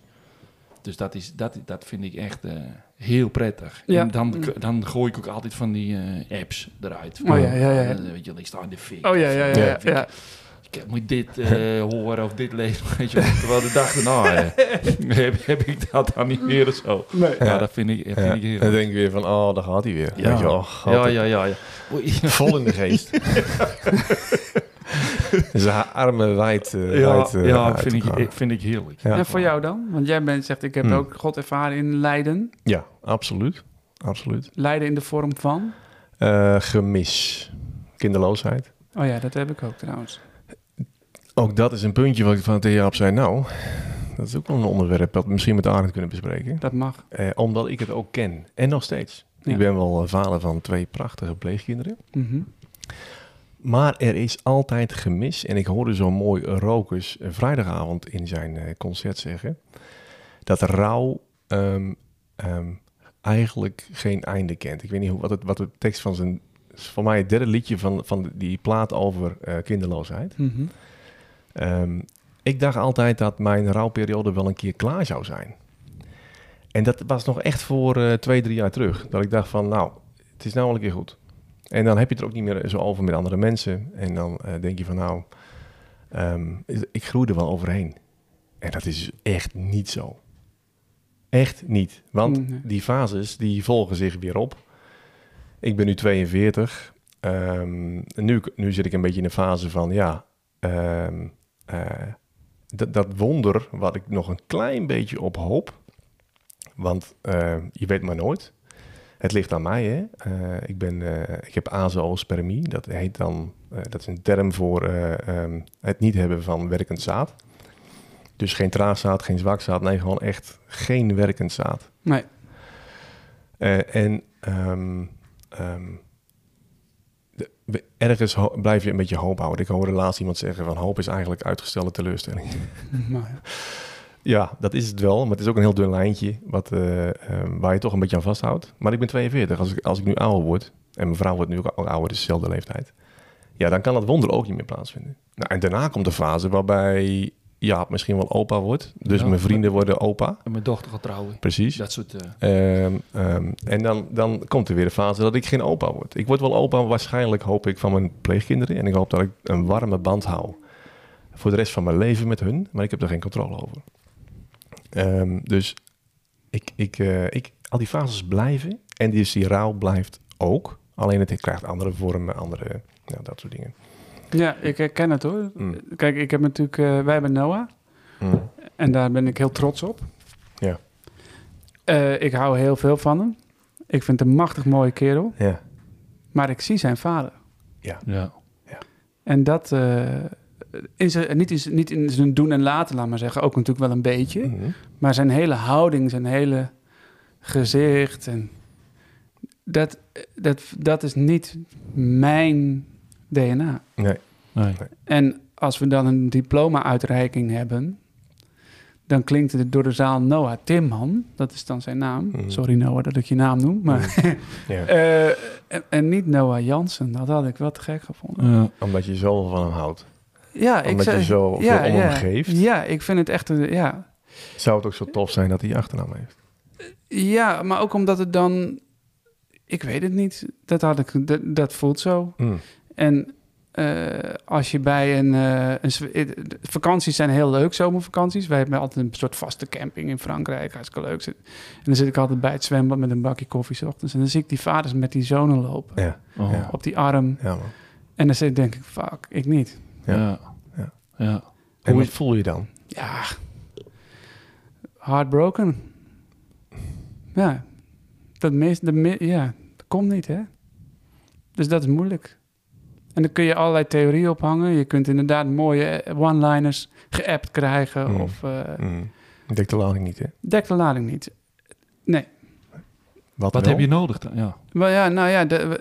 Speaker 1: Dus dat, is, dat, dat vind ik echt eh, heel prettig.
Speaker 3: Ja.
Speaker 1: En dan,
Speaker 3: Mm.
Speaker 1: dan gooi ik ook altijd van die eh, apps eruit.
Speaker 3: Oh, ja, ja, ja, ja.
Speaker 1: Eh, Weet je, ik sta in de fik.
Speaker 3: Oh ja, ja, ja.
Speaker 1: Of, eh,
Speaker 3: ja,
Speaker 1: weet
Speaker 3: ja.
Speaker 1: Ik, ik moet dit eh, horen of dit lezen. Weet je, wel. terwijl de dag daarna eh, heb, heb ik dat dan niet meer of zo.
Speaker 3: Nee.
Speaker 1: Ja,
Speaker 2: Ja.
Speaker 1: dat vind ik, dat
Speaker 2: Ja.
Speaker 1: vind ik
Speaker 2: En
Speaker 1: heel
Speaker 2: dan denk ik weer van, oh, daar gaat hij weer.
Speaker 1: Ja.
Speaker 2: Weet je, wel, oh,
Speaker 1: ja,
Speaker 2: altijd
Speaker 1: ja, ja, ja. Oei,
Speaker 2: Vol in de geest. Zijn armen wijd. eh,
Speaker 1: Ja,
Speaker 2: wijd, eh,
Speaker 1: ja
Speaker 2: uit
Speaker 1: vind,
Speaker 2: elkaar.
Speaker 1: ik, vind ik heerlijk.
Speaker 2: Ja.
Speaker 3: En voor jou dan? Want jij bent, zegt, ik heb
Speaker 2: Hmm.
Speaker 3: ook God ervaren in lijden.
Speaker 2: Ja, absoluut. absoluut.
Speaker 3: Lijden in de vorm van?
Speaker 2: Eh, gemis. Kinderloosheid.
Speaker 3: Oh ja, dat heb ik ook trouwens.
Speaker 2: Ook dat is een puntje wat ik van tegen Jaap zei. Nou, dat is ook wel een onderwerp dat we misschien met Arend kunnen bespreken.
Speaker 3: Dat mag.
Speaker 2: Eh, omdat ik het ook ken. En nog steeds.
Speaker 3: Ja.
Speaker 2: Ik ben wel eh, vader van twee prachtige pleegkinderen.
Speaker 3: Mhm.
Speaker 2: Maar er is altijd gemis. En ik hoorde zo mooi Rokus eh, vrijdagavond in zijn eh, concert zeggen. Dat rouw ehm, ehm, eigenlijk geen einde kent. Ik weet niet hoe, wat, het, wat de tekst van zijn... is Voor mij het derde liedje van, van die plaat over eh, kinderloosheid.
Speaker 3: Mhm.
Speaker 2: Ehm, ik dacht altijd dat mijn rouwperiode wel een keer klaar zou zijn. En dat was nog echt voor eh, twee, drie jaar terug. Dat ik dacht van, nou, het is nou wel een keer goed. En dan heb je het er ook niet meer zo over met andere mensen. En dan eh, denk je van, nou, ehm, ik groei er wel overheen. En dat is echt niet zo. Echt niet. Want
Speaker 3: Nee.
Speaker 2: die fases, die volgen zich weer op. Ik ben nu 42. Ehm, en nu, nu zit ik een beetje in een fase van, ja, ehm, eh, dat- dat wonder wat ik nog een klein beetje op hoop. Want eh, je weet maar nooit. Het ligt aan mij, hè. Eh, ik, ben, eh, ik heb azoospermie. Dat heet dan, eh, dat is een term voor eh, ehm, het niet hebben van werkend zaad. Dus geen traagzaad, geen zwakzaad. Nee, gewoon echt geen werkend zaad.
Speaker 3: Nee.
Speaker 2: Eh, en ehm, ehm, de- we- ergens ho- blijf je een beetje hoop houden. Ik hoorde laatst iemand zeggen van hoop is eigenlijk uitgestelde teleurstelling.
Speaker 3: Maar Nou ja.
Speaker 2: Ja, dat is het wel, maar het is ook een heel dun lijntje wat, eh, ehm, waar je toch een beetje aan vasthoudt. Maar ik ben 42, als ik, als ik nu ouder word, en mijn vrouw wordt nu ook al ouder, dus dezelfde leeftijd. Ja, dan kan dat wonder ook niet meer plaatsvinden. Nou, en daarna komt de fase waarbij Jaap misschien wel opa wordt. Dus
Speaker 1: Ja.
Speaker 2: mijn vrienden worden opa,
Speaker 1: En mijn dochter gaat trouwen.
Speaker 2: precies.
Speaker 1: Dat soort... eh,
Speaker 2: Ehm, ehm, en dan, dan komt er weer de fase dat ik geen opa word. Ik word wel opa, waarschijnlijk hoop ik van mijn pleegkinderen. En ik hoop dat ik een warme band hou voor de rest van mijn leven met hun. Maar ik heb er geen controle over. Ehm, dus ik, ik, eh, ik, al die fases blijven. En dus die rouw blijft ook. Alleen het krijgt andere vormen, andere, nou, dat soort dingen.
Speaker 3: ja, ik herken het hoor.
Speaker 2: Mm.
Speaker 3: Kijk, ik heb natuurlijk, eh, wij hebben Noah.
Speaker 2: Mm.
Speaker 3: En daar ben ik heel trots op.
Speaker 2: Ja.
Speaker 3: Eh, ik hou heel veel van hem. Ik vind hem een machtig mooie kerel.
Speaker 2: Ja.
Speaker 3: Maar ik zie zijn vader.
Speaker 1: ja.
Speaker 3: En dat, eh, in zijn, niet, in zijn, niet in zijn doen en laten, laat maar zeggen. Ook natuurlijk wel een beetje.
Speaker 2: Mm.
Speaker 3: Maar zijn hele houding, zijn hele gezicht. En dat, dat, dat is niet mijn DNA.
Speaker 2: Nee.
Speaker 1: Nee.
Speaker 3: En als we dan een diploma-uitreiking hebben, dan klinkt het door de zaal Noah Timman. Dat is dan zijn naam.
Speaker 2: Mhm.
Speaker 3: Sorry Noah dat ik je naam noem.
Speaker 2: Mm.
Speaker 3: Maar,
Speaker 2: Ja.
Speaker 3: Eh, en, en niet Noah Jansen. Dat had ik wel te gek gevonden.
Speaker 1: Ja.
Speaker 2: Omdat je zo van hem houdt.
Speaker 3: Ja, ik
Speaker 2: Omdat
Speaker 3: zou-
Speaker 2: je zo veel om hem
Speaker 3: ja.
Speaker 2: geeft.
Speaker 3: Ja, ik vind het echt... een- Ja.
Speaker 2: Zou het ook zo tof zijn dat hij je achternaam heeft.
Speaker 3: ja, maar ook omdat het dan... Ik weet het niet. Dat, had ik, dat, dat voelt zo.
Speaker 2: Mm.
Speaker 3: En eh, als je bij een, eh, een zw- eh, de- Vakanties zijn heel leuk, zomervakanties. Wij hebben altijd een soort vaste camping in Frankrijk. Hartstikke leuk. En dan zit ik altijd bij het zwembad met een bakje koffie 's ochtends. En dan zie ik die vaders met die zonen lopen.
Speaker 2: Ja,
Speaker 1: Oh.
Speaker 2: Ja.
Speaker 3: Op die arm.
Speaker 2: ja man.
Speaker 3: En dan zit- denk ik, fuck, ik niet.
Speaker 2: Ja.
Speaker 1: Ja.
Speaker 2: Ja.
Speaker 1: Ja.
Speaker 2: En
Speaker 1: Hoe
Speaker 2: wat
Speaker 1: is-
Speaker 2: voel je dan?
Speaker 3: Ja, heartbroken. Ja, dat, mis, dat, mi- ja, dat komt niet, hè? Dus dat is moeilijk. En dan kun je allerlei theorieën ophangen. Je kunt inderdaad mooie eh, one-liners geappt krijgen.
Speaker 2: Mm.
Speaker 3: Of eh
Speaker 2: Mm. Ik denk de lading niet, hè?
Speaker 3: dekt de lading niet.
Speaker 2: Wat
Speaker 1: Wat
Speaker 2: wel?
Speaker 1: heb je nodig dan? Ja.
Speaker 3: Maar ja, nou ja, de-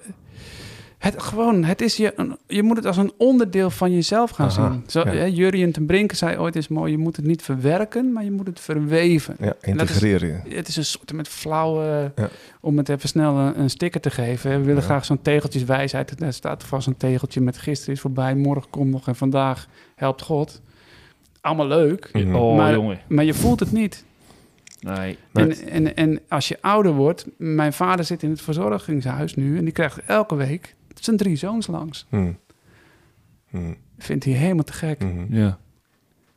Speaker 3: het, gewoon, het is je, je moet het als een onderdeel van jezelf gaan
Speaker 2: Aha,
Speaker 3: zien. Zo,
Speaker 2: ja.
Speaker 3: hè, Jurien ten Brinke zei ooit eens mooi, je moet het niet verwerken, maar je moet het verweven.
Speaker 2: Ja, integreren.
Speaker 3: Het is een soort met flauwe,
Speaker 2: Ja.
Speaker 3: om het even snel een, een sticker te geven. hè. We willen
Speaker 2: Ja.
Speaker 3: graag zo'n tegeltjeswijsheid. Daar staat vast een tegeltje met gisteren is voorbij, morgen komt nog en vandaag helpt God. Allemaal leuk,
Speaker 2: Mhm.
Speaker 1: Oh,
Speaker 3: Maar-
Speaker 1: jongen.
Speaker 3: maar je voelt het niet.
Speaker 1: Nee.
Speaker 2: Nee.
Speaker 3: En, en, en als je ouder wordt, mijn vader zit in het verzorgingshuis nu en die krijgt elke week zijn drie zoons langs.
Speaker 2: Mm. Mm.
Speaker 3: Vindt hij helemaal te gek. Daar
Speaker 2: Mhm.
Speaker 1: Ja.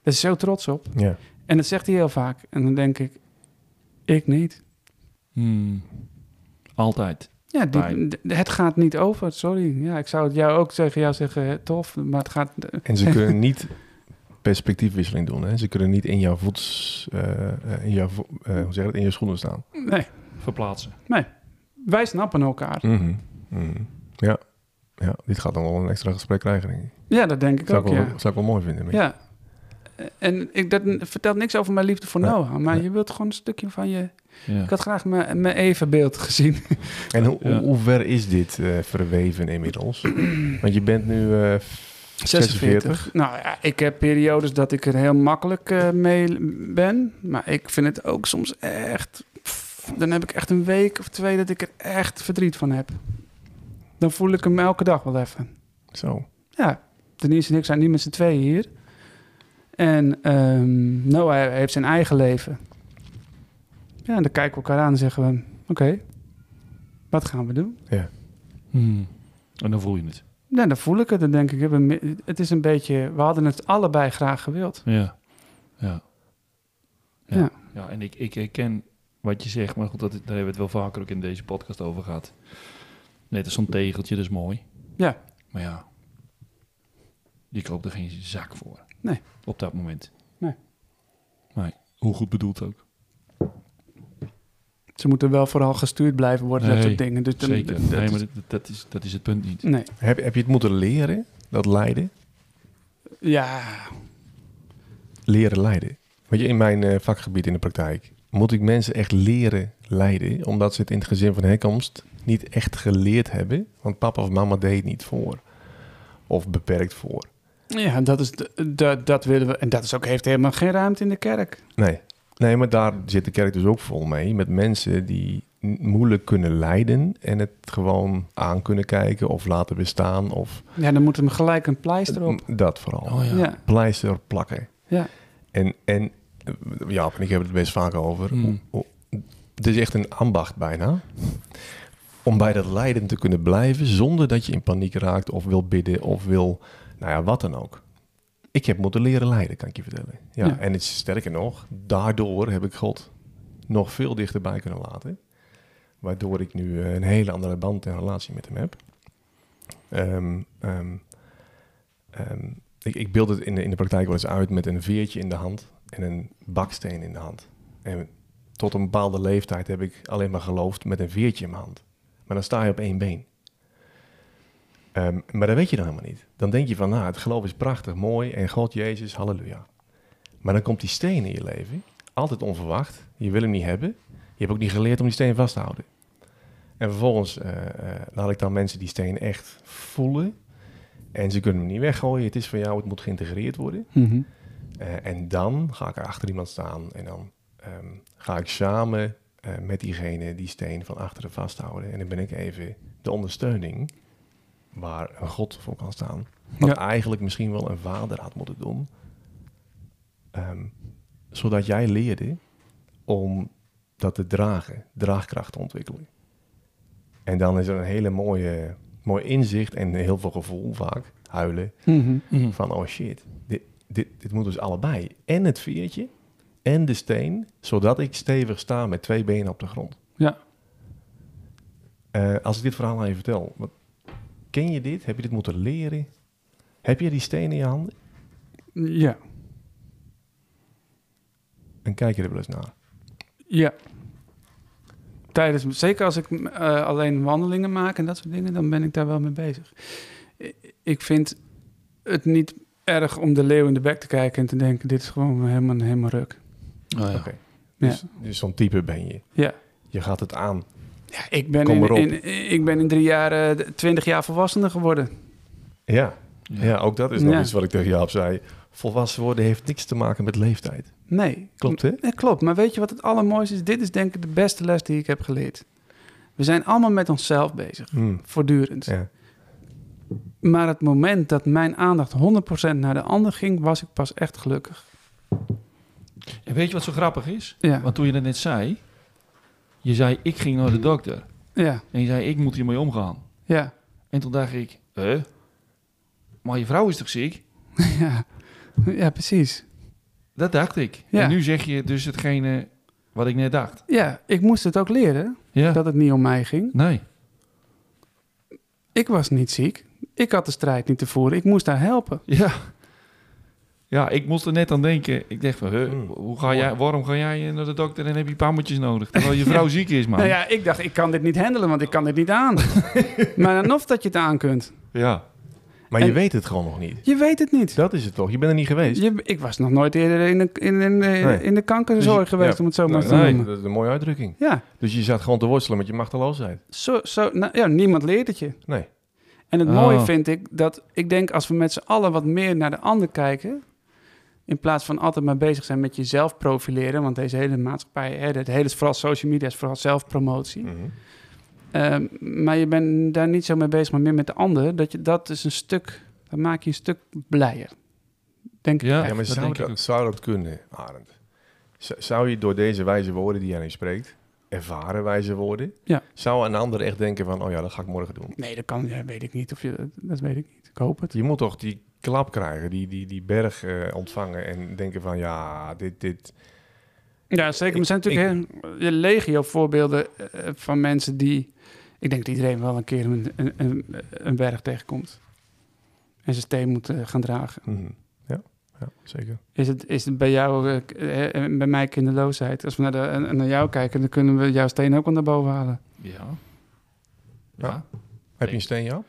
Speaker 3: is hij zo trots op.
Speaker 2: Ja.
Speaker 3: En dat zegt hij heel vaak. En dan denk ik, ik niet.
Speaker 1: Hmm. Altijd.
Speaker 3: Ja, die,
Speaker 1: Fijn.
Speaker 3: d- het gaat niet over, sorry. Ja, ik zou het jou ook tegen jou zeggen, eh, tof, maar het gaat... eh,
Speaker 2: En ze kunnen niet perspectiefwisseling doen. Hè? Ze kunnen niet in jouw voets, eh, eh, in jouw, vo- eh, hoe zeg je dat, in je schoenen staan.
Speaker 3: Nee,
Speaker 1: Verplaatsen.
Speaker 3: wij snappen elkaar.
Speaker 2: Mhm. Mhm. Ja. ja, dit gaat dan wel een extra gesprek krijgen, denk ik.
Speaker 3: Ja, dat denk ik
Speaker 2: Zou
Speaker 3: ook,
Speaker 2: ik wel,
Speaker 3: ja.
Speaker 2: zou ik wel mooi vinden. denk ik.
Speaker 3: Ja. En ik, dat n- vertelt niks over mijn liefde voor
Speaker 2: Nee,
Speaker 3: Noah, maar
Speaker 2: nee.
Speaker 3: je wilt gewoon een stukje van je...
Speaker 1: Ja.
Speaker 3: Ik had graag mijn mijn evenbeeld gezien.
Speaker 2: En hoe,
Speaker 1: Ja.
Speaker 2: hoe ver is dit eh, verweven inmiddels? Want je bent nu eh 46.
Speaker 3: Nou ja, ik heb periodes dat ik er heel makkelijk eh, mee ben. Maar ik vind het ook soms echt... pff, dan heb ik echt een week of twee dat ik er echt verdriet van heb. Dan voel ik hem elke dag wel even.
Speaker 2: Zo.
Speaker 3: Ja, Denise en ik zijn niet met z'n tweeën hier. En ehm Noah heeft zijn eigen leven. Ja, en dan kijken we elkaar aan en zeggen we... Oké, wat gaan we doen?
Speaker 1: Hmm. En dan voel je het.
Speaker 3: Nou, dan voel ik het. Dan denk ik, ik heb een mi- het is een beetje... We hadden het allebei graag gewild.
Speaker 1: Ja. Ja.
Speaker 3: Ja.
Speaker 1: Ja. ja en ik, ik herken wat je zegt, maar goed, dat, daar hebben we het wel vaker ook in deze podcast over gehad. Net als zo'n tegeltje, dat is mooi.
Speaker 3: Ja.
Speaker 1: Maar ja, je koopt er geen zak voor.
Speaker 3: Nee.
Speaker 1: Op dat moment.
Speaker 3: Nee.
Speaker 1: Nee, hoe goed bedoeld ook.
Speaker 3: Ze moeten wel vooral gestuurd blijven worden, dat
Speaker 1: Nee,
Speaker 3: soort dingen. Dus dan-
Speaker 1: Zeker.
Speaker 3: dat
Speaker 1: nee,
Speaker 3: is-
Speaker 1: maar dat, dat is, dat is het punt niet.
Speaker 3: nee.
Speaker 2: Heb, heb je het moeten leren, dat lijden?
Speaker 3: Ja,
Speaker 2: Leren lijden. Want je, in mijn eh, vakgebied in de praktijk moet ik mensen echt leren lijden. Omdat ze het in het gezin van herkomst niet echt geleerd hebben. Want papa of mama deed het niet voor. Of beperkt voor.
Speaker 3: ja dat, is de, dat, dat willen we. En dat is ook, heeft helemaal geen ruimte in de kerk.
Speaker 2: Nee. nee, maar daar zit de kerk dus ook vol mee. Met mensen die n- moeilijk kunnen lijden en het gewoon aan kunnen kijken of laten bestaan. Of
Speaker 3: Ja, dan moet hem gelijk een pleister op.
Speaker 2: dat vooral.
Speaker 1: Oh ja.
Speaker 3: Ja, ja.
Speaker 2: Pleister plakken.
Speaker 3: Ja.
Speaker 2: En, en eh, Jaap en ik hebben het best vaak over.
Speaker 1: Mm.
Speaker 2: O- o- Het is echt een ambacht bijna. Om bij dat lijden te kunnen blijven zonder dat je in paniek raakt of wil bidden of wil, nou ja, wat dan ook. Ik heb moeten leren lijden, kan ik je vertellen. Ja,
Speaker 3: Ja.
Speaker 2: En het is sterker nog, daardoor heb ik God nog veel dichterbij kunnen laten. Waardoor ik nu eh, een hele andere band en relatie met hem heb. Ehm, ehm, ehm, ik, ik beeld het in de, in de praktijk wel eens uit met een veertje in de hand en een baksteen in de hand. En tot een bepaalde leeftijd heb ik alleen maar geloofd met een veertje in mijn hand. Maar dan sta je op één been. Ehm, maar dat weet je dan helemaal niet. Dan denk je van, nou, het geloof is prachtig, mooi en God, Jezus, halleluja. Maar dan komt die steen in je leven, altijd onverwacht. Je wil hem niet hebben. Je hebt ook niet geleerd om die steen vast te houden. En vervolgens eh, eh, laat ik dan mensen die steen echt voelen. En ze kunnen hem niet weggooien. Het is van jou, het moet geïntegreerd worden.
Speaker 3: Mhm.
Speaker 2: Eh, en dan ga ik er achter iemand staan en dan ehm, ga ik samen eh, met diegene die steen van achteren vasthouden. En dan ben ik even de ondersteuning waar een God voor kan staan. Wat
Speaker 3: Ja.
Speaker 2: eigenlijk misschien wel een vader had moeten doen. Ehm, zodat jij leerde om dat te dragen, draagkracht te ontwikkelen. En dan is er een hele mooie, mooi inzicht en heel veel gevoel vaak, huilen,
Speaker 3: Mhm.
Speaker 1: Mhm.
Speaker 2: van oh shit, dit, dit, dit moet dus allebei. En het veertje en de steen, zodat ik stevig sta met twee benen op de grond.
Speaker 3: Ja.
Speaker 2: Eh, als ik dit verhaal aan je vertel, wat, Ken je dit? Heb je dit moeten leren? Heb je die stenen in je handen?
Speaker 3: Ja,
Speaker 2: En kijk je er wel eens naar.
Speaker 3: ja. Tijdens, zeker als ik eh, alleen wandelingen maak en dat soort dingen, dan ben ik daar wel mee bezig. I- Ik vind het niet erg om de leeuw in de bek te kijken en te denken, dit is gewoon helemaal, helemaal ruk.
Speaker 1: Oh, ja.
Speaker 2: Oké.
Speaker 3: Ja.
Speaker 2: Dus, dus zo'n type ben je.
Speaker 3: Ja.
Speaker 2: Je gaat het aan.
Speaker 3: Ja, ik, ben
Speaker 2: Kom
Speaker 3: in,
Speaker 2: maar op.
Speaker 3: in- ik ben in drie jaar, eh, twintig jaar volwassener geworden.
Speaker 2: Ja,
Speaker 5: Ja.
Speaker 2: ja. ook dat is nog
Speaker 3: Ja.
Speaker 2: iets wat ik tegen Jaap zei. Volwassen worden heeft niks te maken met leeftijd.
Speaker 3: Nee.
Speaker 2: Klopt, hè?
Speaker 3: Nee, klopt. Maar weet je wat het allermooiste is? Dit is denk ik de beste les die ik heb geleerd. We zijn allemaal met onszelf bezig,
Speaker 2: Hmm.
Speaker 3: voortdurend.
Speaker 2: Ja.
Speaker 3: Maar het moment dat mijn aandacht 100% naar de ander ging, was ik pas echt gelukkig.
Speaker 1: En weet je wat zo grappig is?
Speaker 3: Ja,
Speaker 1: Want toen je dat net zei, je zei ik ging naar de dokter.
Speaker 3: ja,
Speaker 1: En je zei ik moet hiermee omgaan.
Speaker 3: ja,
Speaker 1: En toen dacht ik, eh? Maar je vrouw is toch ziek?
Speaker 3: ja. Ja, precies.
Speaker 1: Dat dacht ik.
Speaker 3: Ja.
Speaker 1: En nu zeg je dus hetgene wat ik net dacht.
Speaker 3: Ja, ik moest het ook leren
Speaker 1: Ja.
Speaker 3: dat het niet om mij ging.
Speaker 1: Nee.
Speaker 3: Ik was niet ziek. Ik had de strijd niet te voeren. Ik moest daar helpen.
Speaker 1: Ja. Ja, ik moest er net aan denken. Ik dacht van, huh,
Speaker 2: Hmm.
Speaker 1: hoe ga jij, waarom ga jij naar de dokter en heb je pammetjes nodig? Terwijl je vrouw ziek is, man.
Speaker 3: Nou ja, ik dacht, ik kan dit niet handelen, want ik kan dit niet aan. maar dan of dat je het aan kunt.
Speaker 5: Ja.
Speaker 2: Maar je
Speaker 3: En-
Speaker 2: weet het gewoon nog niet.
Speaker 3: Je weet het niet.
Speaker 2: Dat is het toch? Je bent er niet geweest.
Speaker 3: Je, ik was nog nooit eerder in de, in, in,
Speaker 2: Nee.
Speaker 3: in de kankerzorg
Speaker 2: Dus je-
Speaker 3: geweest,
Speaker 2: ja.
Speaker 3: om het zo maar
Speaker 2: Nou,
Speaker 3: te
Speaker 2: nee,
Speaker 3: noemen.
Speaker 2: dat is een mooie uitdrukking.
Speaker 3: Ja,
Speaker 2: Dus je zat gewoon te worstelen met je machteloosheid.
Speaker 3: zo, zo, nou, ja, niemand leert het je.
Speaker 2: Nee.
Speaker 3: En het
Speaker 1: Oh.
Speaker 3: mooie vind ik dat ik denk als we met z'n allen wat meer naar de ander kijken, in plaats van altijd maar bezig zijn met jezelf profileren, want deze hele maatschappij, hè, het hele is vooral social media, is
Speaker 2: Hm.
Speaker 3: vooral
Speaker 2: Mm.
Speaker 3: zelfpromotie.
Speaker 2: Mhm.
Speaker 3: Ehm, maar je bent daar niet zo mee bezig, maar meer met de ander. Dat, je, dat is een stuk, dan maak je een stuk blijer. Denk ik.
Speaker 1: Ja.
Speaker 2: Ja,
Speaker 3: echt.
Speaker 2: maar
Speaker 1: dat
Speaker 2: zou
Speaker 1: denk ik ook.
Speaker 2: dat, zou dat kunnen, Arend? Z- Zou je door deze wijze woorden die jij nu spreekt, ervaren wijze woorden,
Speaker 3: Ja.
Speaker 2: zou een ander echt denken van, oh ja, dat ga ik morgen doen?
Speaker 3: Nee, dat kan, ja, weet ik niet. Of je, dat weet ik niet. Ik hoop het.
Speaker 2: Je moet toch die klap krijgen, die, die, die berg eh, ontvangen en denken van, ja, dit, dit...
Speaker 3: Ja, zeker. Maar er zijn
Speaker 2: Ik-
Speaker 3: natuurlijk heel- je legio voorbeelden eh, van mensen die... Ik denk dat iedereen wel een keer een, een, een, een berg tegenkomt. En zijn steen moet eh, gaan dragen.
Speaker 2: Mhm. Ja, ja, zeker.
Speaker 3: Is het, is het bij jou eh, k- eh, en bij mij kinderloosheid? Als we naar, de, en- en naar jou kijken, dan kunnen we jouw steen ook al naar boven halen.
Speaker 1: Ja.
Speaker 2: Ja.
Speaker 1: Ja.
Speaker 2: Heb je een steen, ja?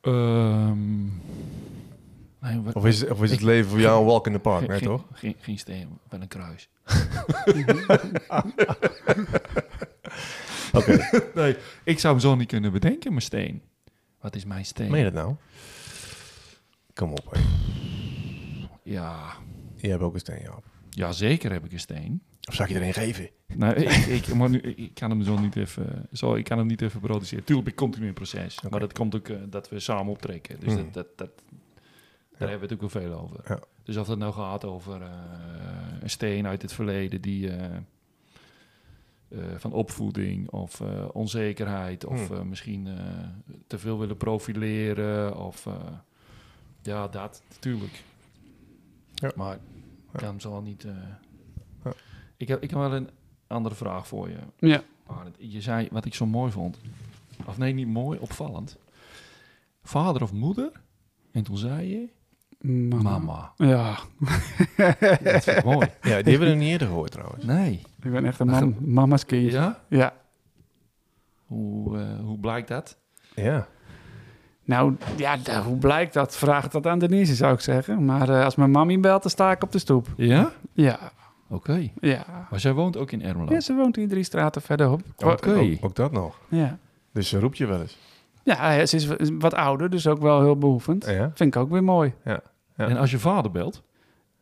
Speaker 1: Ehm, nee, wat-
Speaker 2: Of is, of is het
Speaker 1: Ik-
Speaker 2: leven voor jou een walk in the park,
Speaker 1: geen-
Speaker 2: nee
Speaker 1: geen-
Speaker 2: toch?
Speaker 1: Geen, geen steen, wel een kruis.
Speaker 2: Oké,
Speaker 5: Nee.
Speaker 1: Ik zou hem zo niet kunnen bedenken, mijn steen. Wat is mijn steen?
Speaker 2: meen je dat nou? Kom op, hè.
Speaker 1: Ja,
Speaker 2: Je hebt ook een steen, Jaap.
Speaker 1: ja, zeker heb ik een steen.
Speaker 2: Of zou ik je er een geven?
Speaker 1: Nou, ik, ik, maar nu, ik kan hem zo niet even, zo, ik kan hem niet even produceren. Tuurlijk ben ik continu in proces.
Speaker 2: Oké.
Speaker 1: Maar dat komt ook eh, dat we samen optrekken. Dus
Speaker 2: Mhm.
Speaker 1: dat, dat, dat, daar hebben we het ook wel veel over.
Speaker 2: Ja.
Speaker 1: Dus of dat nou gaat over eh, een steen uit het verleden die eh, eh, van opvoeding of eh, onzekerheid of
Speaker 2: Hmm.
Speaker 1: eh, misschien eh, te veel willen profileren of eh, ja, dat natuurlijk.
Speaker 2: Ja.
Speaker 1: Maar ik kan hem zo niet. eh,
Speaker 2: Ja.
Speaker 1: ik, heb, ik heb wel een andere vraag voor je.
Speaker 3: Ja.
Speaker 1: Arend. Je zei wat ik zo mooi vond. Of nee, niet mooi, opvallend. Vader of moeder? En toen zei je
Speaker 3: Mama.
Speaker 1: mama.
Speaker 3: Ja,
Speaker 1: Dat vind ik mooi.
Speaker 2: Ja, die hebben we nog niet eerder gehoord, trouwens.
Speaker 1: Nee.
Speaker 3: ik ben echt een mam, mama's kindje. Ja.
Speaker 1: Ja? Hoe, eh, hoe blijkt dat?
Speaker 2: Ja.
Speaker 3: Nou, ja, d- hoe blijkt dat? Vraag dat aan Denise, zou ik zeggen. Maar eh, als mijn mammy belt, dan sta ik op de stoep.
Speaker 1: Ja?
Speaker 3: Ja,
Speaker 1: Oké.
Speaker 3: ja.
Speaker 1: Maar zij woont ook in Ermelo.
Speaker 3: Ja, ze woont hier drie straten verderop.
Speaker 1: Oké.
Speaker 2: Ook, ook dat nog.
Speaker 3: Ja.
Speaker 2: Dus ze roept je wel eens.
Speaker 3: Ja, ja, ze is w- wat ouder, dus ook wel heel behoefend.
Speaker 2: Ja.
Speaker 3: Vind ik ook weer mooi.
Speaker 2: Ja.
Speaker 1: En als je vader belt?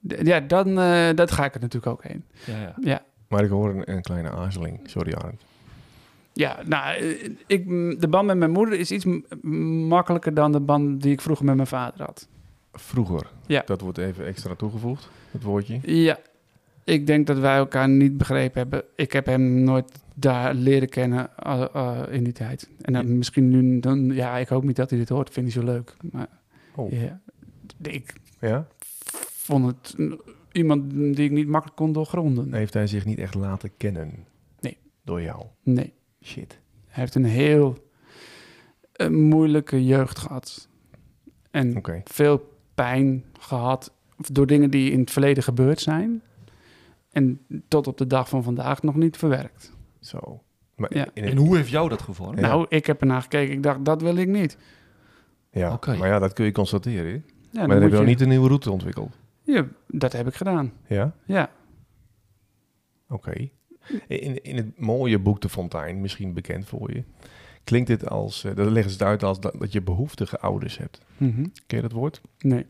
Speaker 3: D- Ja, dan eh, dat ga ik er natuurlijk ook heen.
Speaker 1: Ja, ja.
Speaker 3: Ja,
Speaker 2: Maar ik hoor een, een kleine aarzeling. Sorry, Arend.
Speaker 3: ja nou, eh, ik, m- de band met mijn moeder is iets m- m- makkelijker dan de band die ik vroeger met mijn vader had.
Speaker 2: Vroeger.
Speaker 3: Ja.
Speaker 2: Dat wordt even extra toegevoegd, het woordje.
Speaker 3: Ja, ik denk dat wij elkaar niet begrepen hebben. Ik heb hem nooit daar leren kennen eh, eh, in die tijd. En dan misschien nu, dan, ja, ik hoop niet dat hij dit hoort. Vind hij zo leuk. Maar
Speaker 2: Oh.
Speaker 3: ja, ik
Speaker 2: Ja?
Speaker 3: vond het een- iemand die ik niet makkelijk kon doorgronden.
Speaker 2: Heeft hij zich niet echt laten kennen?
Speaker 3: Nee.
Speaker 2: Door jou?
Speaker 3: Nee.
Speaker 2: Shit.
Speaker 3: Hij heeft een heel een eh, moeilijke jeugd gehad. En
Speaker 2: Oké.
Speaker 3: veel pijn gehad door dingen die in het verleden gebeurd zijn. En tot op de dag van vandaag nog niet verwerkt.
Speaker 2: Zo. Maar
Speaker 3: Ja.
Speaker 2: in het-
Speaker 4: En hoe heeft jou dat gevormd?
Speaker 2: Ja.
Speaker 3: Nou, ik heb ernaar gekeken. Ik dacht, dat wil ik niet.
Speaker 2: ja.
Speaker 4: Oké.
Speaker 2: Maar ja, dat kun je constateren. hè?
Speaker 3: Ja, dan
Speaker 2: maar dan
Speaker 3: moet
Speaker 2: hebben we
Speaker 3: je-
Speaker 2: niet een nieuwe route ontwikkeld.
Speaker 3: Ja, dat heb ik gedaan.
Speaker 2: Ja?
Speaker 3: Ja,
Speaker 2: Oké. In, in het mooie boek De Fontein, misschien bekend voor je, klinkt dit als, eh, daar leggen ze het uit als dat, dat je behoeftige ouders hebt. Ken je dat woord?
Speaker 3: nee.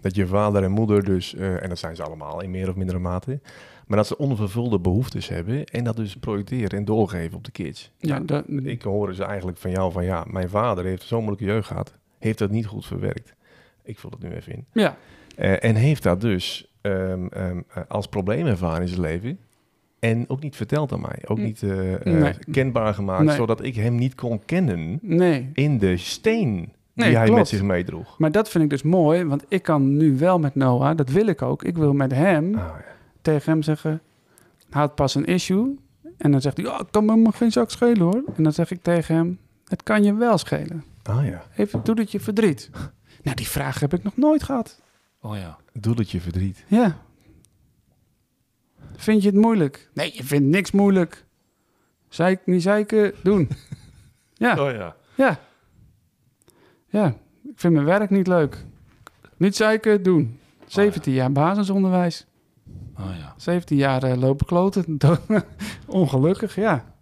Speaker 2: Dat je vader en moeder dus, eh, en dat zijn ze allemaal in meer of mindere mate, maar dat ze onvervulde behoeftes hebben en dat dus projecteren en doorgeven op de kids.
Speaker 3: Ja, dat,
Speaker 2: Ik hoor ze eigenlijk van jou van ja, mijn vader heeft zo'n moeilijke jeugd gehad, heeft dat niet goed verwerkt. Ik vul dat nu even in.
Speaker 3: ja.
Speaker 2: Eh, en heeft dat dus ehm, ehm, eh, als probleem ervaren in zijn leven. En ook niet verteld aan mij. Ook
Speaker 3: Mm.
Speaker 2: niet eh, eh,
Speaker 3: Nee.
Speaker 2: kenbaar gemaakt,
Speaker 3: Nee.
Speaker 2: zodat ik hem niet kon kennen
Speaker 3: nee.
Speaker 2: in de steen die
Speaker 3: Nee,
Speaker 2: hij
Speaker 3: klopt.
Speaker 2: met zich meedroeg.
Speaker 3: Maar dat vind ik dus mooi, want ik kan nu wel met Noah, dat wil ik ook. Ik wil met hem
Speaker 2: Ah, ja.
Speaker 3: tegen hem zeggen, haat pas een issue. En dan zegt hij, oh, het kan me maar geen zak schelen hoor. En dan zeg ik tegen hem, het kan je wel schelen.
Speaker 2: Ah ja,
Speaker 3: Even, doe dat je verdriet. Nou, die vraag heb ik nog nooit gehad.
Speaker 4: Oh ja.
Speaker 2: doe dat je verdriet.
Speaker 3: Ja. Vind je het moeilijk? Nee, je vindt niks moeilijk. Zeik, niet zeiken, doen. Ja.
Speaker 4: Oh ja.
Speaker 3: Ja. Ja, ik vind mijn werk niet leuk. Niet zeiken, doen.
Speaker 2: Oh,
Speaker 3: 17 jaar basisonderwijs.
Speaker 4: Oh ja.
Speaker 3: 17 jaar eh, lopen kloten. Ongelukkig, ja.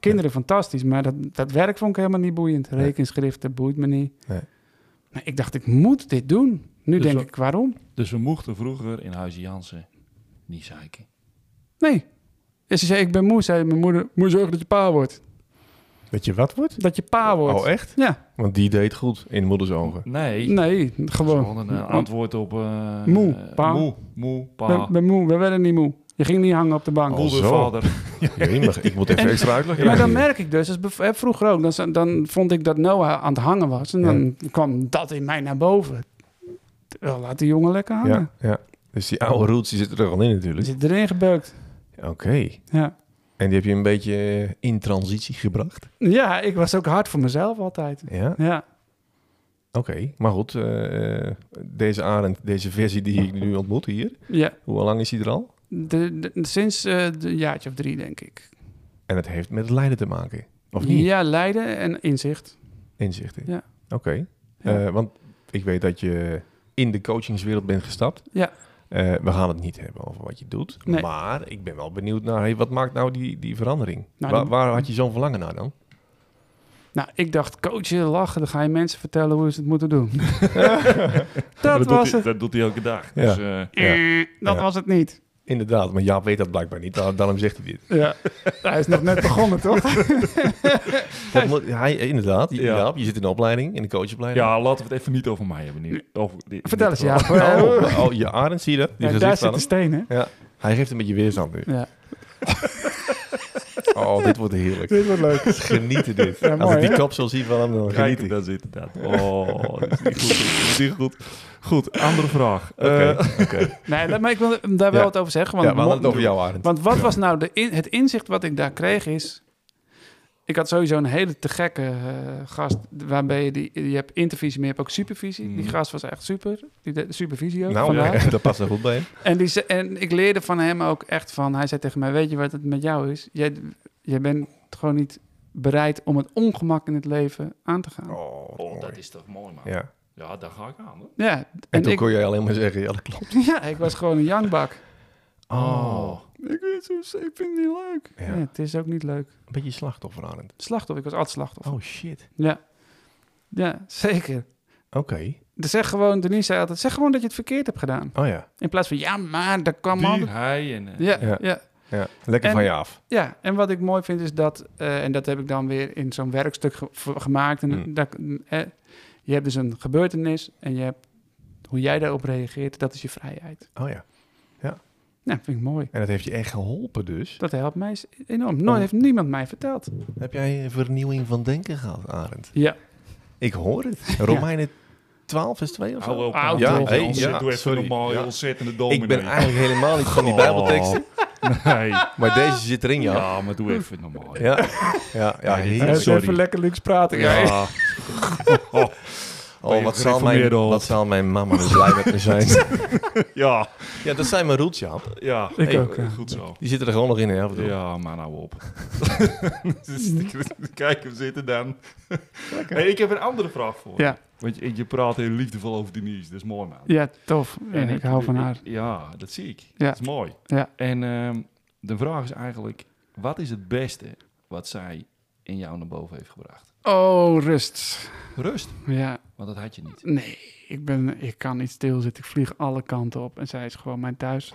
Speaker 3: Kinderen fantastisch, maar dat, dat werk vond ik helemaal niet boeiend.
Speaker 2: Nee.
Speaker 3: Rekenschriften boeit me niet.
Speaker 2: Nee.
Speaker 3: Maar ik dacht, ik moet dit doen. Nu
Speaker 4: Dus
Speaker 3: denk
Speaker 4: wat-
Speaker 3: ik, waarom?
Speaker 4: Dus we mochten vroeger in Huizen Jansen niet zeiken.
Speaker 3: Nee. En ze zei, ik ben moe, zei mijn moeder. Moet je zorgen dat je pa wordt.
Speaker 2: Dat je wat wordt?
Speaker 3: Dat je pa wordt.
Speaker 2: Oh echt?
Speaker 3: Ja.
Speaker 2: Want die deed goed in moeders ogen.
Speaker 4: Nee.
Speaker 3: Nee,
Speaker 4: Dat is
Speaker 3: gewoon.
Speaker 4: een eh, antwoord op... eh,
Speaker 3: Moe,
Speaker 4: eh,
Speaker 3: pa.
Speaker 4: Moe, moe, pa.
Speaker 3: ben, ben moe, we werden niet moe. Je ging niet hangen op de bank.
Speaker 2: Oh,
Speaker 4: Moeder,
Speaker 2: zo.
Speaker 4: vader.
Speaker 2: Jemig, ik moet even
Speaker 3: En-
Speaker 2: extra uitleggen.
Speaker 3: Maar dan merk ik dus, als bev- hè, vroeger ook, dan, z- dan vond ik dat Noah aan het hangen was. En dan kwam dat in mij naar boven. Terwijl, laat die jongen lekker hangen.
Speaker 2: ja, ja. Dus die oude roots die zitten er al in
Speaker 3: Die
Speaker 2: natuurlijk.
Speaker 3: zit erin gebeukt.
Speaker 2: Oké.
Speaker 3: Ja.
Speaker 2: En die heb je een beetje eh, in transitie gebracht.
Speaker 3: ja, ik was ook hard voor mezelf altijd.
Speaker 2: Ja.
Speaker 3: Ja,
Speaker 2: Oké, maar goed, eh, eh, deze Arend, deze versie die ik nu ontmoet hier,
Speaker 3: ja.
Speaker 2: hoe lang is die er al?
Speaker 3: De, de- sinds eh, de- een jaartje of drie, denk ik.
Speaker 2: En het heeft met het lijden te maken, of niet?
Speaker 3: Ja, lijden en inzicht.
Speaker 2: Inzichten.
Speaker 3: Ja.
Speaker 2: Oké,
Speaker 3: Ja.
Speaker 2: Eh, want ik weet dat je in de coachingswereld bent gestapt.
Speaker 3: Ja.
Speaker 2: Eh, we gaan het niet hebben over wat je doet,
Speaker 3: Nee.
Speaker 2: maar ik ben wel benieuwd naar, hey, wat maakt nou die, die verandering?
Speaker 3: Nou,
Speaker 2: Wa-
Speaker 3: die-
Speaker 2: Waar had je zo'n verlangen naar dan?
Speaker 3: Nou, ik dacht, coachen, lachen, dan ga je mensen vertellen hoe ze het moeten doen.
Speaker 4: Maar
Speaker 3: dat
Speaker 4: doet
Speaker 3: was
Speaker 4: hij-
Speaker 3: het.
Speaker 4: Dat doet hij elke dag.
Speaker 2: Ja.
Speaker 4: Dus, eh,
Speaker 3: Eh, Dat
Speaker 2: Ja.
Speaker 3: was het niet.
Speaker 2: Inderdaad, maar Jaap weet dat blijkbaar niet, daar- daarom zegt hij dit.
Speaker 3: Ja. Hij is nog net begonnen, toch?
Speaker 2: Wat moet- hij, inderdaad,
Speaker 4: Ja.
Speaker 2: Jaap, je zit in de opleiding, in de coachopleiding.
Speaker 4: ja, laten we het even niet over mij hebben. Niet, over dit-
Speaker 3: Vertel
Speaker 4: dit
Speaker 3: eens, ja.
Speaker 4: geval.
Speaker 2: Oh, oh, je Arend, zie je dat? Die
Speaker 3: Ja, daar
Speaker 2: gezicht van
Speaker 3: zit de steen, hè?
Speaker 2: hem. Ja. Hij geeft een beetje weerstand nu.
Speaker 3: Ja.
Speaker 2: Oh, dit wordt heerlijk.
Speaker 3: Dit wordt leuk.
Speaker 2: Genieten dit.
Speaker 3: Ja,
Speaker 2: Als
Speaker 3: mooi,
Speaker 2: ik die
Speaker 3: hè?
Speaker 2: kop zal zien van hem, dan
Speaker 4: Kijk,
Speaker 2: geniet ik.
Speaker 4: daar zit het aan. Oh, dat is niet goed. Dat is niet goed. Goed, andere vraag.
Speaker 2: Oké,
Speaker 4: Eh,
Speaker 2: oké.
Speaker 3: Nee, dat- maar ik wil daar wel
Speaker 2: Ja.
Speaker 3: wat over zeggen.
Speaker 2: Ja,
Speaker 3: Want,
Speaker 2: we hadden het over jou, Arend.
Speaker 3: want wat was nou de in- het inzicht wat ik daar kreeg is... Ik had sowieso een hele te gekke eh, gast waarbij je, die, je hebt intervisie, maar je hebt ook supervisie. Die
Speaker 4: Mhm.
Speaker 3: gast was echt super. Die deed de supervisie ook.
Speaker 2: Nou,
Speaker 3: vandaar.
Speaker 2: dat past er goed bij. hem.
Speaker 3: En, die, ze- en ik leerde van hem ook echt van... Hij zei tegen mij, weet je wat het met jou is? Jij, jij bent gewoon niet bereid om het ongemak in het leven aan te gaan.
Speaker 2: Oh,
Speaker 4: oh, dat
Speaker 2: mooi.
Speaker 4: is toch mooi, man. Ja,
Speaker 2: Ja.
Speaker 4: daar ga ik aan. Hoor.
Speaker 3: Ja, en,
Speaker 2: En toen
Speaker 3: ik,
Speaker 2: kon jij alleen maar zeggen, ja, dat klopt.
Speaker 3: ja, ik was gewoon een jankbak.
Speaker 2: Oh.
Speaker 3: Ik, weet het, ik vind het niet leuk.
Speaker 2: Ja.
Speaker 3: Ja, het is ook niet leuk.
Speaker 2: Een beetje slachtoffer, Arend.
Speaker 3: Slachtoffer, ik was altijd slachtoffer.
Speaker 2: Oh, shit.
Speaker 3: Ja. ja, zeker.
Speaker 2: Oké.
Speaker 3: Dus zeg gewoon, Denise zei altijd, zeg gewoon dat je het verkeerd hebt gedaan.
Speaker 2: Oh ja.
Speaker 3: In plaats van, ja maar, dat kan
Speaker 4: Die,
Speaker 3: man.
Speaker 4: hij en... eh,
Speaker 3: Ja,
Speaker 2: Ja.
Speaker 3: ja. Ja.
Speaker 2: ja. Lekker
Speaker 3: En-
Speaker 2: van je af.
Speaker 3: en wat ik mooi vind is dat, eh, en dat heb ik dan weer in zo'n werkstuk ge- v- gemaakt. En
Speaker 2: Hmm.
Speaker 3: dat, eh, je hebt dus een gebeurtenis en je hebt hoe jij daarop reageert, dat is je vrijheid.
Speaker 2: Oh ja.
Speaker 3: Nou, vind ik mooi.
Speaker 2: En dat heeft je echt geholpen dus.
Speaker 3: Dat helpt mij enorm.
Speaker 2: Om-
Speaker 3: Nooit heeft niemand mij verteld.
Speaker 2: Heb jij een vernieuwing van denken gehad, Arend?
Speaker 3: Ja,
Speaker 2: Ik hoor het. Romeinen 12 is 2 of zo?
Speaker 4: Hallo,
Speaker 3: Oud,
Speaker 4: ja,
Speaker 3: toch?
Speaker 4: hey,
Speaker 2: Ja,
Speaker 4: doe even
Speaker 2: sorry.
Speaker 4: normaal,
Speaker 2: Ja.
Speaker 4: ontzettende dominee.
Speaker 2: Ik ben eigenlijk helemaal niet van die bijbelteksten.
Speaker 4: Nee.
Speaker 2: Maar deze zit erin, ja.
Speaker 4: Ja, maar doe even normaal.
Speaker 2: Ja, ja, ja,
Speaker 4: Nee,
Speaker 2: heerlijk.
Speaker 3: Hij is
Speaker 4: sorry.
Speaker 3: even lekker links praten.
Speaker 4: Ja.
Speaker 3: jij.
Speaker 2: Oh, wat zal, mijn,
Speaker 4: gereformeerd al.
Speaker 2: wat zal mijn mama dus blij met me zijn.
Speaker 4: Ja,
Speaker 2: ja, dat zijn mijn roeltje, Jaap.
Speaker 4: ja.
Speaker 3: Ik
Speaker 2: Hey,
Speaker 3: ook. ja.
Speaker 4: Goed zo.
Speaker 2: Die zitten er gewoon nog in, hè? af en toe.
Speaker 4: Ja, maar nou op. Dus ik- Kijk hem zitten dan. Hey, ik heb een andere vraag voor je.
Speaker 3: Ja.
Speaker 4: Want je, je praat heel liefdevol over Denise, dat is mooi man.
Speaker 3: Ja, tof. En
Speaker 4: En
Speaker 3: ik hou van haar.
Speaker 4: Ja, dat zie ik.
Speaker 3: Ja.
Speaker 4: Dat is mooi.
Speaker 3: Ja.
Speaker 4: En ehm, de vraag is eigenlijk, wat is het beste wat zij in jou naar boven heeft gebracht?
Speaker 3: Oh, rust.
Speaker 4: Rust,
Speaker 3: Ja,
Speaker 4: want dat had je niet.
Speaker 3: nee. Ik, ben, ik kan niet stilzitten. Ik vlieg alle kanten op. En zij is gewoon mijn thuis.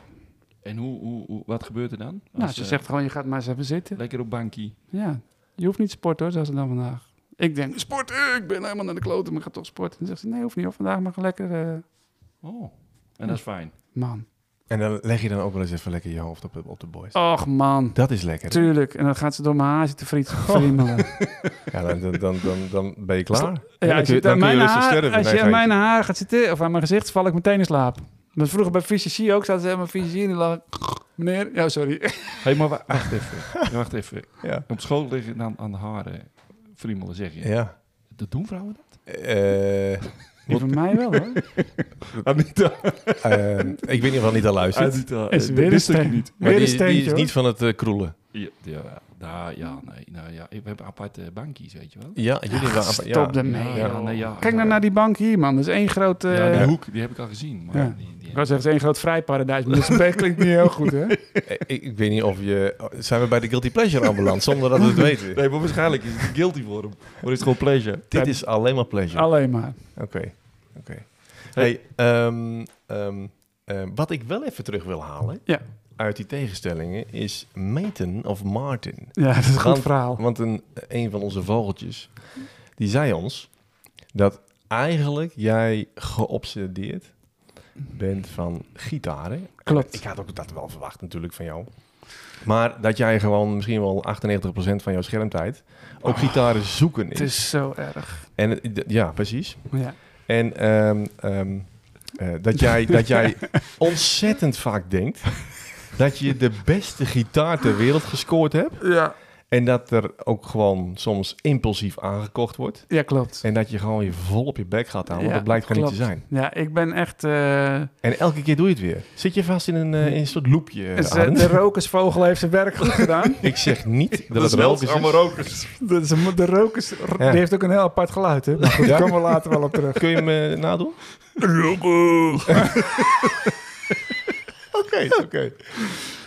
Speaker 4: En hoe, hoe, hoe- wat gebeurt er dan?
Speaker 3: nou,
Speaker 4: Als,
Speaker 3: ze
Speaker 4: eh,
Speaker 3: zegt gewoon, je gaat maar eens even zitten.
Speaker 4: Lekker op bankie.
Speaker 3: Ja, je hoeft niet te sporten hoor, zei ze dan vandaag. Ik denk, sporten, ik ben helemaal naar de kloten, maar ik ga toch sporten. Dan zegt ze, nee, hoeft niet hoor, vandaag mag ik lekker... eh,
Speaker 4: Oh, en dat is fijn.
Speaker 3: man.
Speaker 2: En dan leg je dan ook wel eens even lekker je hoofd op, op de boys.
Speaker 3: Och man, Oh.
Speaker 2: Dat is lekker. hè?
Speaker 3: Oh. tuurlijk. En dan gaat ze door mijn haar zitten friet, friemelen.
Speaker 2: Ja, dan, dan, dan, dan, dan ben je klaar.
Speaker 3: Ja,
Speaker 2: dan
Speaker 3: als
Speaker 2: kun
Speaker 3: je
Speaker 2: je, dan
Speaker 3: aan
Speaker 2: kun je
Speaker 3: mijn
Speaker 2: rustig
Speaker 3: haar,
Speaker 2: sterven.
Speaker 3: als
Speaker 2: Nee,
Speaker 3: je aan
Speaker 2: geintje.
Speaker 3: mijn haar gaat zitten, of aan mijn gezicht, val ik meteen in slaap. Want vroeger bij fysici ook, zaten ze helemaal fysici en die lag... Meneer, ja, sorry.
Speaker 4: Hé, maar wa- wacht even. Wacht even.
Speaker 2: Ja.
Speaker 4: Op school liggen aan, aan de haren friemelen, zeg je.
Speaker 2: Ja.
Speaker 4: Dat doen vrouwen dat?
Speaker 2: Eh,
Speaker 3: Die van mij wel hoor.
Speaker 4: Anita.
Speaker 2: eh, ik weet niet of hij niet al luistert.
Speaker 4: Anita.
Speaker 3: Is weer een steentje.
Speaker 4: niet.
Speaker 2: Maar
Speaker 3: Weer een
Speaker 2: die, is- die
Speaker 3: steentje
Speaker 2: is
Speaker 3: hoor.
Speaker 2: niet van het eh, kroelen.
Speaker 4: Ja, ja, nou, ja, nee. Nou, ja. We hebben aparte bankjes, weet je wel.
Speaker 2: Ja, jullie waren...
Speaker 3: Stop
Speaker 2: ja.
Speaker 3: ermee.
Speaker 4: Ja,
Speaker 3: joh.
Speaker 4: nee, ja.
Speaker 3: Kijk nou naar die bank hier man, dat is één groot... eh,
Speaker 4: Ja, die hoek, die heb ik al gezien. Maar
Speaker 3: Ja.
Speaker 4: die, die-
Speaker 3: Ik wou zeggen, het is één groot vrijparadijs, maar dat is- klinkt niet heel goed hè.
Speaker 2: Eh, Ik, ik weet niet of je... oh, Zijn we bij de Guilty Pleasure ambulant zonder dat we het weten?
Speaker 4: Nee, maar waarschijnlijk is het guilty voor hem. Maar is het gewoon pleasure.
Speaker 2: Dit is alleen maar pleasure.
Speaker 3: Alleen maar.
Speaker 2: Oké, oké. Hey, ehm, ehm, eh, wat ik wel even terug wil halen
Speaker 3: Ja.
Speaker 2: uit die tegenstellingen is Maiten of Martin.
Speaker 3: Ja, dat is een goed
Speaker 2: Want-
Speaker 3: verhaal.
Speaker 2: Want een, een van onze vogeltjes, die zei ons dat eigenlijk jij geobsedeerd bent van gitaren. Ik
Speaker 3: Klopt.
Speaker 2: had ook dat wel verwacht natuurlijk van jou. Maar dat jij gewoon misschien wel 98% van jouw schermtijd ook gitaren zoeken
Speaker 3: Ah. Het
Speaker 2: is.
Speaker 3: is zo erg.
Speaker 2: En, het- d- ja, precies.
Speaker 3: Ja.
Speaker 2: En ehm, ehm, eh, dat, jij, dat jij ontzettend vaak denkt dat je de beste gitaar ter wereld gescoord hebt.
Speaker 3: Ja.
Speaker 2: En dat er ook gewoon soms impulsief aangekocht wordt.
Speaker 3: ja, klopt.
Speaker 2: En dat je gewoon je vol op je bek gaat houden.
Speaker 3: Ja,
Speaker 2: want dat blijkt gewoon niet te
Speaker 3: klopt.
Speaker 2: zijn.
Speaker 3: Ja, ik ben echt... eh,
Speaker 2: En elke keer doe je het weer. Zit je vast in een, eh, in een soort loopje, eh,
Speaker 3: ze-
Speaker 2: Arend?
Speaker 3: de rokersvogel heeft zijn werk goed gedaan.
Speaker 2: Ik zeg niet dat, het wel is. dus
Speaker 4: rokers.
Speaker 3: Dat is een- De rokers...
Speaker 2: Ja.
Speaker 3: Die heeft ook een heel apart geluid, hè. Maar goed,
Speaker 2: Ja.
Speaker 3: daar komen we later wel op terug.
Speaker 2: Kun je hem eh, nadoen? Oké, oké.
Speaker 3: Ja.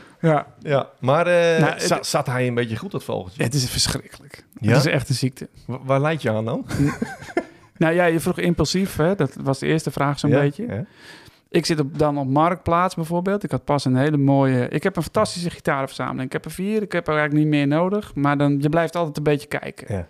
Speaker 2: Ja, maar eh,
Speaker 3: Nou, het-
Speaker 2: za- zat hij een beetje goed, dat vogeltje?
Speaker 3: Het is verschrikkelijk.
Speaker 2: Ja?
Speaker 3: Het is echt een ziekte.
Speaker 2: Wa- waar leidt je aan dan?
Speaker 3: Nou ja, je vroeg impulsief, hè. Dat was de eerste vraag zo'n
Speaker 2: Ja,
Speaker 3: beetje.
Speaker 2: ja.
Speaker 3: Ik zit op, dan op Marktplaats bijvoorbeeld. Ik had pas een hele mooie... Ik heb een fantastische gitarenverzameling. Ik heb er vier. Ik heb er eigenlijk niet meer nodig. Maar dan, je blijft altijd een beetje kijken.
Speaker 2: Ja.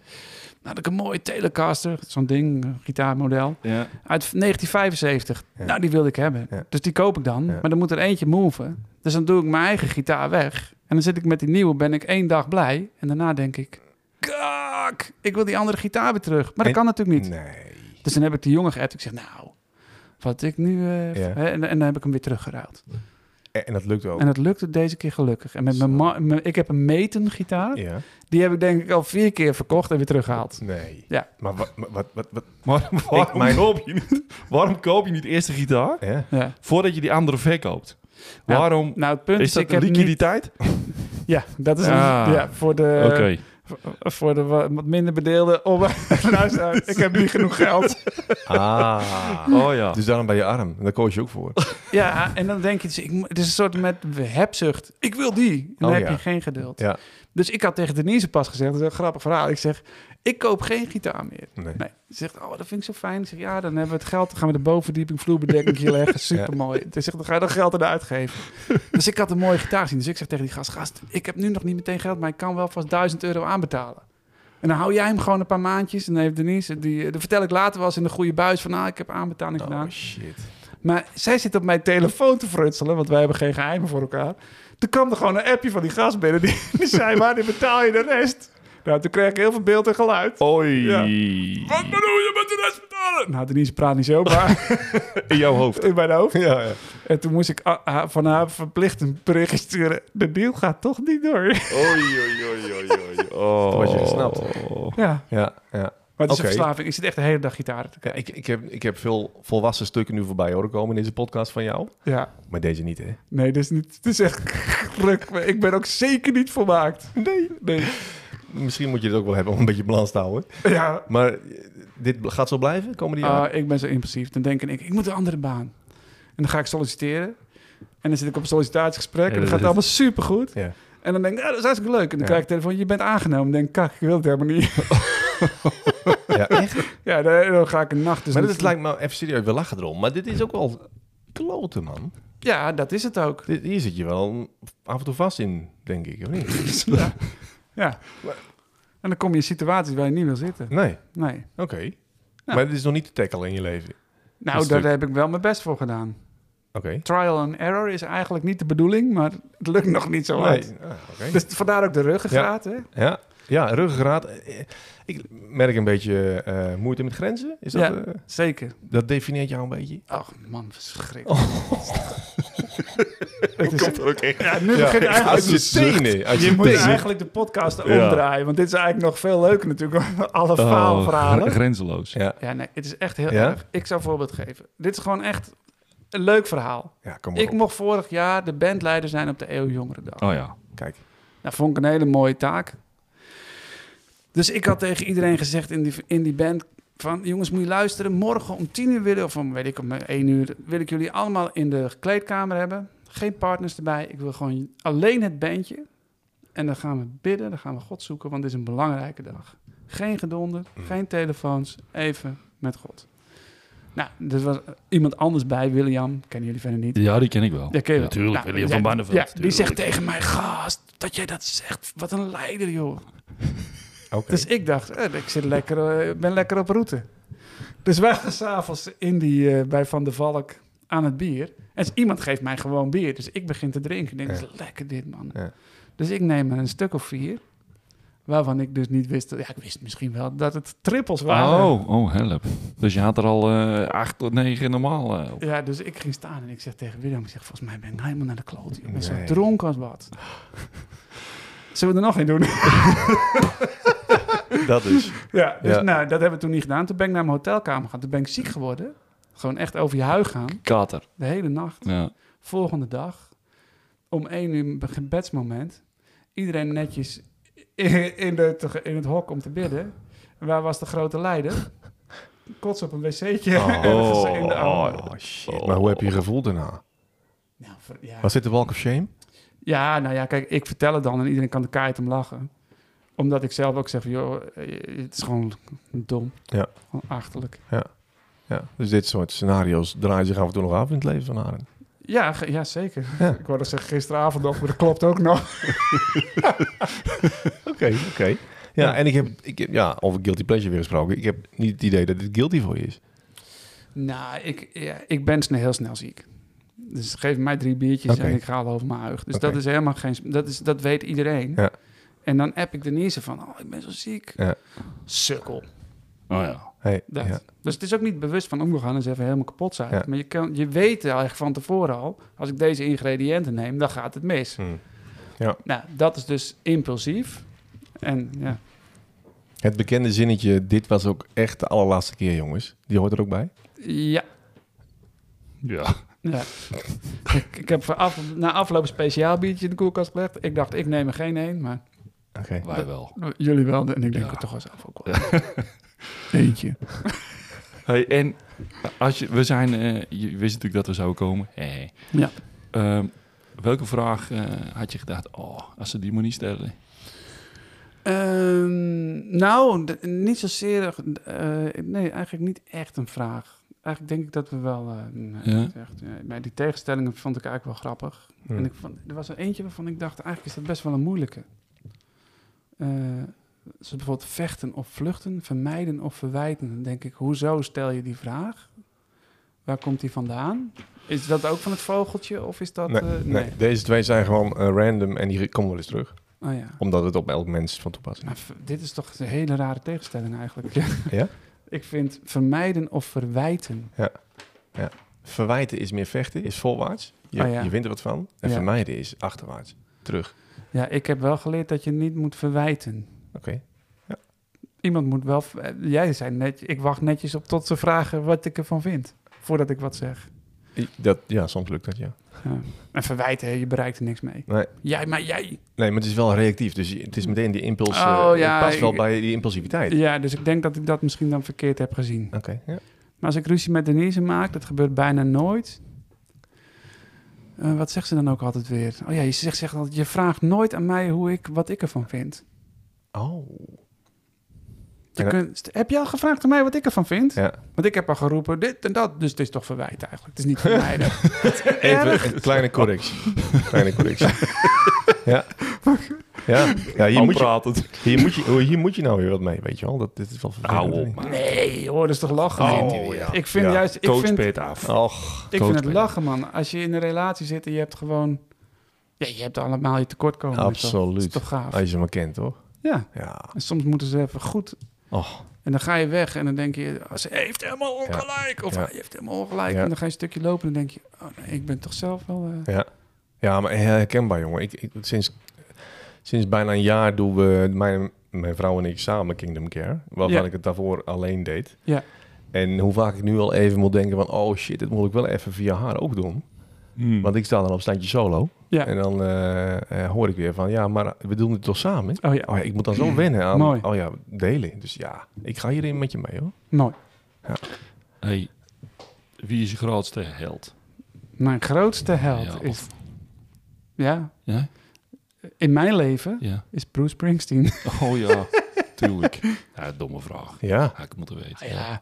Speaker 3: Nou, dat ik een mooie Telecaster. Zo'n ding, een gitaarmodel.
Speaker 4: Ja.
Speaker 3: Uit 1975.
Speaker 2: Ja.
Speaker 3: Nou, die wilde ik hebben.
Speaker 2: Ja.
Speaker 3: Dus die koop ik dan.
Speaker 2: Ja.
Speaker 3: Maar dan moet er eentje moven. Dus dan doe ik mijn eigen gitaar weg. En dan zit ik met die nieuwe, ben ik één dag blij. En daarna denk ik... Kak, ik wil die andere gitaar weer terug. Maar dat
Speaker 2: En- Mm.
Speaker 3: kan natuurlijk niet.
Speaker 2: Nee.
Speaker 3: Dus dan heb ik die jongen geappt. Ik zeg, nou, wat ik nu... eh,
Speaker 2: Ja.
Speaker 3: hè, en, en dan heb ik hem weer teruggeruild.
Speaker 2: En, en dat lukt ook.
Speaker 3: En het lukte deze keer gelukkig. En met mijn, ma- mijn- ik heb een meten gitaar.
Speaker 2: Ja.
Speaker 3: Die heb ik denk ik al vier keer verkocht en weer teruggehaald.
Speaker 2: Nee.
Speaker 3: Ja.
Speaker 2: Maar wat... wat, wat, wat, wat-
Speaker 4: Maar waarom,
Speaker 2: Ik- mijn-
Speaker 4: koop je niet, waarom koop je niet eerst de gitaar
Speaker 2: ja.
Speaker 3: Ja.
Speaker 4: voordat je die andere verkoopt?
Speaker 3: Nou,
Speaker 4: waarom
Speaker 3: Nou, het punt is,
Speaker 4: is dat
Speaker 3: ik
Speaker 4: een
Speaker 3: heb niet...
Speaker 4: liquiditeit?
Speaker 3: Ja, dat is
Speaker 4: Ah.
Speaker 3: ja, voor de...
Speaker 4: Oké.
Speaker 3: Voor- Voor de wa- wat minder bedeelden. Om, luister, ik heb niet genoeg geld.
Speaker 2: Ah.
Speaker 4: Oh ja.
Speaker 2: Dus daarom ben je arm. En daar koos je ook voor.
Speaker 3: Ja, en dan denk je, dus ik, mo- het is een soort met hebzucht. Ik wil die. En dan
Speaker 2: Oh,
Speaker 3: heb
Speaker 2: ja.
Speaker 3: je geen geduld.
Speaker 2: Ja.
Speaker 3: Dus ik had tegen Denise pas gezegd, dat is een grappig verhaal. Ik zeg, ik koop geen gitaar meer.
Speaker 2: Nee.
Speaker 3: Nee. Ze zegt, oh, dat vind ik zo fijn. Ik zeg, ja, dan hebben we het geld. Dan gaan we de bovenverdieping vloerbedekking hier leggen. Supermooi. Ze zegt, dan ga je dat geld eruit uitgeven. dus ik had een mooie gitaar zien. Dus ik zeg tegen die gast, gast, ik heb nu nog niet meteen geld, maar ik kan wel vast 1000 euro aanbetalen. En dan hou jij hem gewoon een paar maandjes. En dan heeft Denise, die, eh, dan vertel ik later wel eens in de goede buis van, ah, ik heb aanbetaling gedaan.
Speaker 2: Oh, shit.
Speaker 3: Maar zij zit op mijn telefoon te frutselen, want wij hebben geen geheimen voor elkaar. Toen kwam er gewoon een appje van die gast binnen. Die, die zei, wanneer betaal je de rest? Nou, toen kreeg ik heel veel beeld en geluid.
Speaker 4: Oei.
Speaker 3: Ja. Wat bedoel je met de rest Nou, Denise praat niet zo, maar
Speaker 1: In jouw hoofd.
Speaker 3: in mijn hoofd.
Speaker 2: Ja, ja.
Speaker 3: En toen moest ik a- haar- van haar verplicht een bericht sturen. De deal gaat toch niet door.
Speaker 1: Oei, oei, oei, oei, oei. Oh.
Speaker 2: Toen was je gesnapt.
Speaker 3: Ja,
Speaker 2: ja, ja.
Speaker 3: maar het is
Speaker 2: Oké.
Speaker 3: een verslaving. Ik zit echt de hele dag gitaar te
Speaker 2: ja
Speaker 3: kijken.
Speaker 2: ik, ik, heb, ik heb veel volwassen stukken nu voorbij horen komen in deze podcast van jou.
Speaker 3: Ja,
Speaker 2: Maar deze niet, hè?
Speaker 3: nee, dit is niet... Het is echt ruk. Maar Ik ben ook zeker niet volmaakt.
Speaker 2: Nee.
Speaker 3: Nee.
Speaker 2: Misschien moet je het ook wel hebben om een beetje balans te houden.
Speaker 3: Ja.
Speaker 2: Maar eh, dit bl- gaat zo blijven komende jaren?
Speaker 3: Ah, ik ben zo impulsief. Dan denk ik, ik moet een andere baan. En dan ga ik solliciteren. En dan zit ik op een sollicitatiegesprek.
Speaker 4: Ja,
Speaker 3: en dan
Speaker 4: dat
Speaker 3: gaat
Speaker 4: is-
Speaker 3: het allemaal supergoed.
Speaker 2: Ja.
Speaker 3: En dan denk ik, ah, dat is hartstikke leuk. En dan
Speaker 2: Ja.
Speaker 3: krijg ik telefoon, je bent aangenomen. Dan denk ik, kak, ik wil het helemaal niet.
Speaker 2: ja, echt.
Speaker 3: ja, dan, dan ga ik een nacht. Dus
Speaker 2: maar
Speaker 3: een-
Speaker 2: dit is- lijkt me even serieus, we lachen erom. Maar dit is ook wel kloten, man.
Speaker 3: Ja, dat is het ook.
Speaker 2: Dit, hier zit je wel af en toe vast in, denk ik, of niet?
Speaker 3: ja. ja. En dan kom je in situaties waar je niet wil zitten.
Speaker 2: Nee,
Speaker 3: Nee.
Speaker 2: oké. Maar dit is nog niet te tackle in je leven.
Speaker 3: Nou,
Speaker 2: Een
Speaker 3: daar
Speaker 2: stuk.
Speaker 3: heb ik wel mijn best voor gedaan.
Speaker 2: Oké.
Speaker 3: Trial and error is eigenlijk niet de bedoeling, maar het lukt nog niet zo hard.
Speaker 2: Nee, ah, oké.
Speaker 3: Dus vandaar ook de ruggengraat, hè?
Speaker 2: Ja, ja, ruggengraat. Eh, eh, Ik merk een beetje eh, moeite met grenzen. Is dat,
Speaker 3: Ja.
Speaker 2: eh,
Speaker 3: Zeker.
Speaker 2: dat definieert jou een beetje?
Speaker 3: Ach, man, verschrikkelijk.
Speaker 2: Oh,
Speaker 3: Het is-
Speaker 1: er ook echt.
Speaker 3: ja, nu begint eigenlijk...
Speaker 2: Uit je tenen. Uit
Speaker 3: Je
Speaker 2: je
Speaker 3: moet
Speaker 2: tenen.
Speaker 3: eigenlijk de
Speaker 1: Ja.
Speaker 3: podcast omdraaien, want dit is eigenlijk nog veel leuker natuurlijk. Alle faalverhalen.
Speaker 4: Oh, Grenzeloos.
Speaker 2: Ja.
Speaker 3: Ja, nee, het is echt heel
Speaker 2: Oh, Ja?
Speaker 3: erg. Ik zou een voorbeeld geven. Dit is gewoon echt een leuk verhaal.
Speaker 2: ja, kom maar
Speaker 3: Ik
Speaker 2: op.
Speaker 3: mocht vorig jaar de bandleider zijn op de Eeuw Jongerendag.
Speaker 4: Oh ja.
Speaker 2: Kijk.
Speaker 3: Dat vond ik een hele mooie taak. Dus ik had tegen iedereen gezegd in die, in die band... van jongens, moet je luisteren. Morgen om tien uur wil ik, of om, weet ik, om één uur... wil ik jullie allemaal in de kleedkamer hebben. Geen partners erbij. Ik wil gewoon alleen het bandje. En dan gaan we bidden, dan gaan we God zoeken... want het is een belangrijke dag. Geen gedonder,
Speaker 4: Mm.
Speaker 3: geen telefoons. Even met God. Nou, er was iemand anders bij, William. Kennen jullie verder niet.
Speaker 4: Ja, die ken ik wel.
Speaker 3: Ja, ken je wel.
Speaker 4: Natuurlijk,
Speaker 3: Nou,
Speaker 4: William
Speaker 3: ja,
Speaker 4: van Barneveld.
Speaker 3: Ja, die
Speaker 4: tuurlijk.
Speaker 3: zegt tegen mij, gast, dat jij dat zegt. Wat een leider, joh.
Speaker 2: Oké.
Speaker 3: Dus ik dacht, eh, ik zit lekker, eh, ben lekker op route. Dus wij gaan s'avonds in die, eh, bij Van der Valk aan het bier. En dus iemand geeft mij gewoon bier. Dus ik begin te drinken. Ik denk,
Speaker 2: Ja.
Speaker 3: dat is lekker dit, man.
Speaker 2: Ja.
Speaker 3: Dus ik neem een stuk of vier. Waarvan ik dus niet wist... dat- Ja, ik wist misschien wel dat het trippels waren.
Speaker 4: Oh, oh, help. Dus je had er al eh, acht tot negen normaal eh, op.
Speaker 3: Ja, dus ik ging staan en ik zeg tegen Willem... Ik zeg, volgens mij ben ik nou helemaal naar de kloot. joh. Ik ben zo
Speaker 2: Nee.
Speaker 3: dronken als wat. Zullen we er nog een doen?
Speaker 2: Dat is.
Speaker 3: Ja, dus
Speaker 2: Ja.
Speaker 3: nou, dat hebben we toen niet gedaan. Toen ben ik naar mijn hotelkamer gegaan. Toen ben ik ziek geworden. Gewoon echt over je huig gaan.
Speaker 4: Kater.
Speaker 3: De hele nacht.
Speaker 4: Ja.
Speaker 3: Volgende dag. Om één uur be- gebedsmoment. Iedereen netjes in, in, de, in het hok om te bidden. En waar was de grote leider? Kots op een wc'tje. ergens in de
Speaker 2: Oh,
Speaker 3: auto.
Speaker 2: shit. Maar hoe heb je je gevoeld daarna?
Speaker 3: Nou, ver- ja.
Speaker 2: Was dit de walk of shame?
Speaker 3: ja, nou ja, kijk, ik vertel het dan en iedereen kan de kaart om lachen. Omdat ik zelf ook zeg van, joh, eh, het is gewoon dom.
Speaker 2: Ja.
Speaker 3: Gewoon achterlijk.
Speaker 2: Ja. Dus dit soort scenario's draaien zich af en toe nog af in het leven van Arend.
Speaker 3: Ja, ge- ja zeker.
Speaker 2: Ja.
Speaker 3: Ik wou dat zeggen gisteravond nog, maar dat klopt ook nog.
Speaker 2: Oké, oké. Ja, en ik heb, ik heb, ja, over guilty pleasure weer gesproken. Ik heb niet het idee dat dit guilty voor je is.
Speaker 3: Nou, ik, ja, ik ben snel, heel snel ziek. Dus geef mij drie biertjes
Speaker 2: Oké.
Speaker 3: en ik ga al over mijn huig. Dus
Speaker 2: Oké.
Speaker 3: dat is helemaal geen... sp- Dat, is, dat weet iedereen.
Speaker 2: Ja.
Speaker 3: En dan app ik de niezen van, oh, ik ben zo ziek.
Speaker 2: Ja.
Speaker 3: Sukkel.
Speaker 4: Oh ja.
Speaker 2: Hey,
Speaker 3: Dat.
Speaker 2: ja.
Speaker 3: Dus het is ook niet bewust van, oh, we gaan eens even helemaal kapot zijn.
Speaker 2: Ja.
Speaker 3: Maar je, kan, je weet eigenlijk van tevoren al, als ik deze ingrediënten neem, dan gaat het mis.
Speaker 2: Hm.
Speaker 3: Nou, dat is dus impulsief. En ja,
Speaker 2: Het bekende zinnetje, dit was ook echt de allerlaatste keer, jongens. Die hoort er ook bij.
Speaker 3: ja
Speaker 4: Ja.
Speaker 3: Ja. ik, ik heb voor af, na afloop een speciaal biertje in de koelkast gelegd. Ik dacht, ik neem er geen één, maar
Speaker 2: Oké.
Speaker 4: Wij wel.
Speaker 3: jullie wel. En ik denk,
Speaker 4: Ja.
Speaker 3: het toch wel zelf ook wel. Eentje.
Speaker 4: Hey, en als je, we zijn, eh, je wist natuurlijk dat we zouden komen. Hey.
Speaker 3: Ja.
Speaker 4: Ehm, welke vraag eh, had je gedacht, oh, als ze die maar niet stellen?
Speaker 3: Ehm, nou, d- niet zozeer... eh, nee, eigenlijk niet echt een vraag. Eigenlijk denk ik dat we wel... eh, nee,
Speaker 4: Ja.
Speaker 3: niet echt, nee. Maar die tegenstellingen vond ik eigenlijk wel grappig.
Speaker 2: Hm.
Speaker 3: En ik vond, er was er eentje waarvan ik dacht, eigenlijk is dat best wel een moeilijke. Eh dus bijvoorbeeld vechten of vluchten, vermijden of verwijten. Dan denk ik, hoezo stel je die vraag? Waar komt die vandaan? Is dat ook van het vogeltje of is dat...
Speaker 2: nee,
Speaker 3: eh,
Speaker 2: nee. deze twee zijn gewoon eh, random en die komen wel eens terug.
Speaker 3: Oh ja.
Speaker 2: Omdat het op elk mens van toepassing
Speaker 3: Maar v- dit is toch een hele rare tegenstelling eigenlijk. Ja.
Speaker 2: Ja?
Speaker 3: Ik vind vermijden of verwijten.
Speaker 2: Verwijten is meer vechten, is voorwaarts. Je,
Speaker 3: Ah, ja.
Speaker 2: je wint er wat van. En
Speaker 3: Ja.
Speaker 2: vermijden is achterwaarts. Terug.
Speaker 3: Ja, ik heb wel geleerd dat je niet moet verwijten.
Speaker 2: Oké.
Speaker 3: Iemand moet wel... ver- Jij zei net, ik wacht netjes op tot ze vragen wat ik ervan vind. Voordat ik wat zeg.
Speaker 2: I- Dat, ja, soms lukt dat, ja.
Speaker 3: En verwijten, hè, je bereikt er niks mee.
Speaker 2: Nee.
Speaker 3: Jij, maar jij.
Speaker 2: Nee, maar het is wel reactief. Dus je- het is meteen die impuls. eh,
Speaker 3: Oh, ja,
Speaker 2: het past wel
Speaker 3: ik-
Speaker 2: bij die impulsiviteit.
Speaker 3: Ja, dus ik denk dat ik dat misschien dan verkeerd heb gezien.
Speaker 2: Oké. ja.
Speaker 3: Maar als ik ruzie met Denise maak, dat gebeurt bijna nooit. Eh, wat zegt ze dan ook altijd weer? Oh ja, je zegt, zegt altijd, je vraagt nooit aan mij hoe ik, wat ik ervan vind.
Speaker 2: Oh.
Speaker 3: Je
Speaker 2: En dat-
Speaker 3: kunt- heb je al gevraagd aan mij wat ik ervan vind?
Speaker 2: Ja.
Speaker 3: Want ik heb al geroepen dit en dat, dus het is toch verwijt eigenlijk. Het is niet vermijden.
Speaker 2: Even een kleine correctie. kleine correctie. ja. Ja,
Speaker 1: Oh,
Speaker 2: ja hier, moet je,
Speaker 1: pratend.
Speaker 2: hier, moet je, hier moet je nou weer wat mee, weet je wel. Dat, dit is wel
Speaker 1: Hou
Speaker 2: vervelend.
Speaker 1: op,
Speaker 2: hè?
Speaker 1: man.
Speaker 3: nee, hoor, dat is toch lachen.
Speaker 2: Oh, ja.
Speaker 3: Ik vind
Speaker 2: Ja.
Speaker 3: juist, ik
Speaker 1: Coach
Speaker 3: vind,
Speaker 1: Pit af.
Speaker 2: Och,
Speaker 3: ik vind het
Speaker 2: coach.
Speaker 3: lachen, man. Als je in een relatie zit en je hebt gewoon, ja, je hebt allemaal je tekortkomingen. toch? Dat is
Speaker 2: Absoluut.
Speaker 3: toch gaaf.
Speaker 2: Als je hem kent, toch?
Speaker 3: Ja.
Speaker 2: Ja.
Speaker 3: En soms moeten ze even goed.
Speaker 2: Och.
Speaker 3: En dan ga je weg en dan denk je, oh, ze heeft helemaal ongelijk. Of
Speaker 2: Ja.
Speaker 3: hij heeft helemaal ongelijk.
Speaker 2: Ja.
Speaker 3: En dan ga je een stukje lopen en dan denk je, oh nee, ik ben toch zelf wel... eh,
Speaker 2: Ja, maar herkenbaar, jongen. Ik, ik, sinds, sinds bijna een jaar doen we, mijn, mijn vrouw en ik samen Kingdom Care. Waarvan
Speaker 3: Ja.
Speaker 2: ik het daarvoor alleen deed.
Speaker 3: Ja.
Speaker 2: En hoe vaak ik nu al even moet denken van... oh shit, dit moet ik wel even via haar ook doen.
Speaker 1: Hmm.
Speaker 2: Want ik sta dan op standje solo.
Speaker 3: Ja.
Speaker 2: En dan eh, eh, hoor ik weer van... ja, maar we doen het toch samen?
Speaker 3: Oh ja,
Speaker 2: Oh ja, ik moet dan zo wennen aan...
Speaker 3: Mooi.
Speaker 2: oh ja, delen. Dus ja, ik ga hierin met je mee, hoor.
Speaker 3: mooi.
Speaker 1: Hey, wie is je grootste held?
Speaker 3: Mijn grootste held
Speaker 1: Ja,
Speaker 3: is... Ja,
Speaker 1: Ja?
Speaker 3: in mijn leven
Speaker 1: ja.
Speaker 3: is Bruce Springsteen.
Speaker 1: Oh ja, tuurlijk. Ja, domme vraag.
Speaker 2: Ja,
Speaker 1: Had ik moeten weten.
Speaker 3: ja,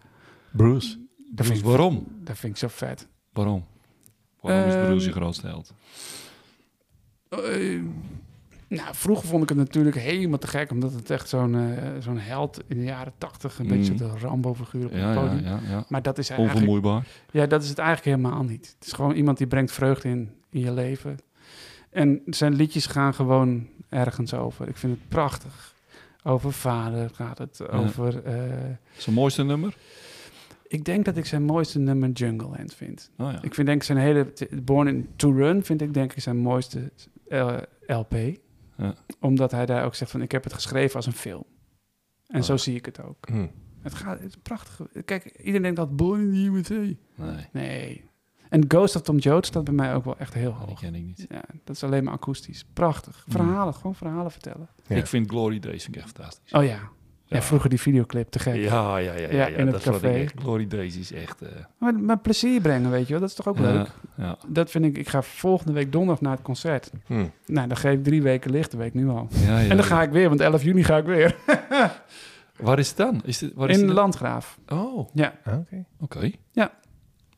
Speaker 2: Bruce.
Speaker 3: dat vind, ik,
Speaker 1: waarom?
Speaker 3: dat vind ik zo vet.
Speaker 1: Waarom? Waarom is Bruce je
Speaker 3: Ehm,
Speaker 1: grootste held?
Speaker 3: Eh, nou, vroeger vond ik het natuurlijk helemaal te gek, omdat het echt zo'n eh, zo'n held in de jaren tachtig, een
Speaker 1: Mm.
Speaker 3: beetje de Rambo-figuur op
Speaker 1: Ja,
Speaker 3: het
Speaker 1: ja,
Speaker 3: podium.
Speaker 1: ja, ja.
Speaker 3: Maar dat is hij eigenlijk
Speaker 1: Onvermoeibaar.
Speaker 3: Ja, dat is het eigenlijk helemaal niet. Het is gewoon iemand die brengt vreugde in, in je leven. En zijn liedjes gaan gewoon ergens over. Ik vind het prachtig. Over vader gaat het, over... eh,
Speaker 1: Zijn mooiste nummer?
Speaker 3: ik denk dat ik zijn mooiste nummer Jungle Land vind.
Speaker 1: Oh, ja.
Speaker 3: Ik vind denk ik zijn hele... Born in to Run vind ik denk ik zijn mooiste eh, LP.
Speaker 1: Ja.
Speaker 3: Omdat hij daar ook zegt van ik heb het geschreven als een film. En
Speaker 1: Oh,
Speaker 3: zo
Speaker 1: ja.
Speaker 3: zie ik het ook.
Speaker 2: Hm.
Speaker 3: Het, gaat, het is prachtig. Kijk, iedereen denkt dat Born in the USA.
Speaker 1: Nee,
Speaker 3: Nee. En Ghost of Tom Joad staat bij mij ook wel echt heel
Speaker 1: die
Speaker 3: hoog.
Speaker 1: ken ik niet.
Speaker 3: Ja, dat is alleen maar akoestisch. Prachtig.
Speaker 1: Oh, Mm.
Speaker 3: Verhalen, gewoon verhalen vertellen.
Speaker 2: Ja.
Speaker 1: Ik vind Glory Days vind ik echt fantastisch.
Speaker 3: Oh ja. ja.
Speaker 1: Ja.
Speaker 3: vroeger die videoclip, te gek.
Speaker 1: Ja, ja, ja, ja, ja,
Speaker 3: Ja, in het
Speaker 1: dat vond ik
Speaker 3: café.
Speaker 1: echt. Glory Days is echt. eh,
Speaker 3: Maar, maar plezier brengen, weet je wel. Dat is toch ook
Speaker 1: ja,
Speaker 3: leuk?
Speaker 1: Ja.
Speaker 3: Dat vind ik... Ik ga volgende week donderdag naar het concert.
Speaker 2: Hm.
Speaker 3: Nou, dan geef ik drie weken licht, dat weet ik nu al.
Speaker 1: Ja, ja,
Speaker 3: en dan
Speaker 1: ja.
Speaker 3: ga ik weer, want 11 juni ga ik weer.
Speaker 1: Waar is het dan? Is dit, waar is
Speaker 3: In
Speaker 1: die dan?
Speaker 3: Landgraaf.
Speaker 1: Oh, oké.
Speaker 2: Ah, Oké.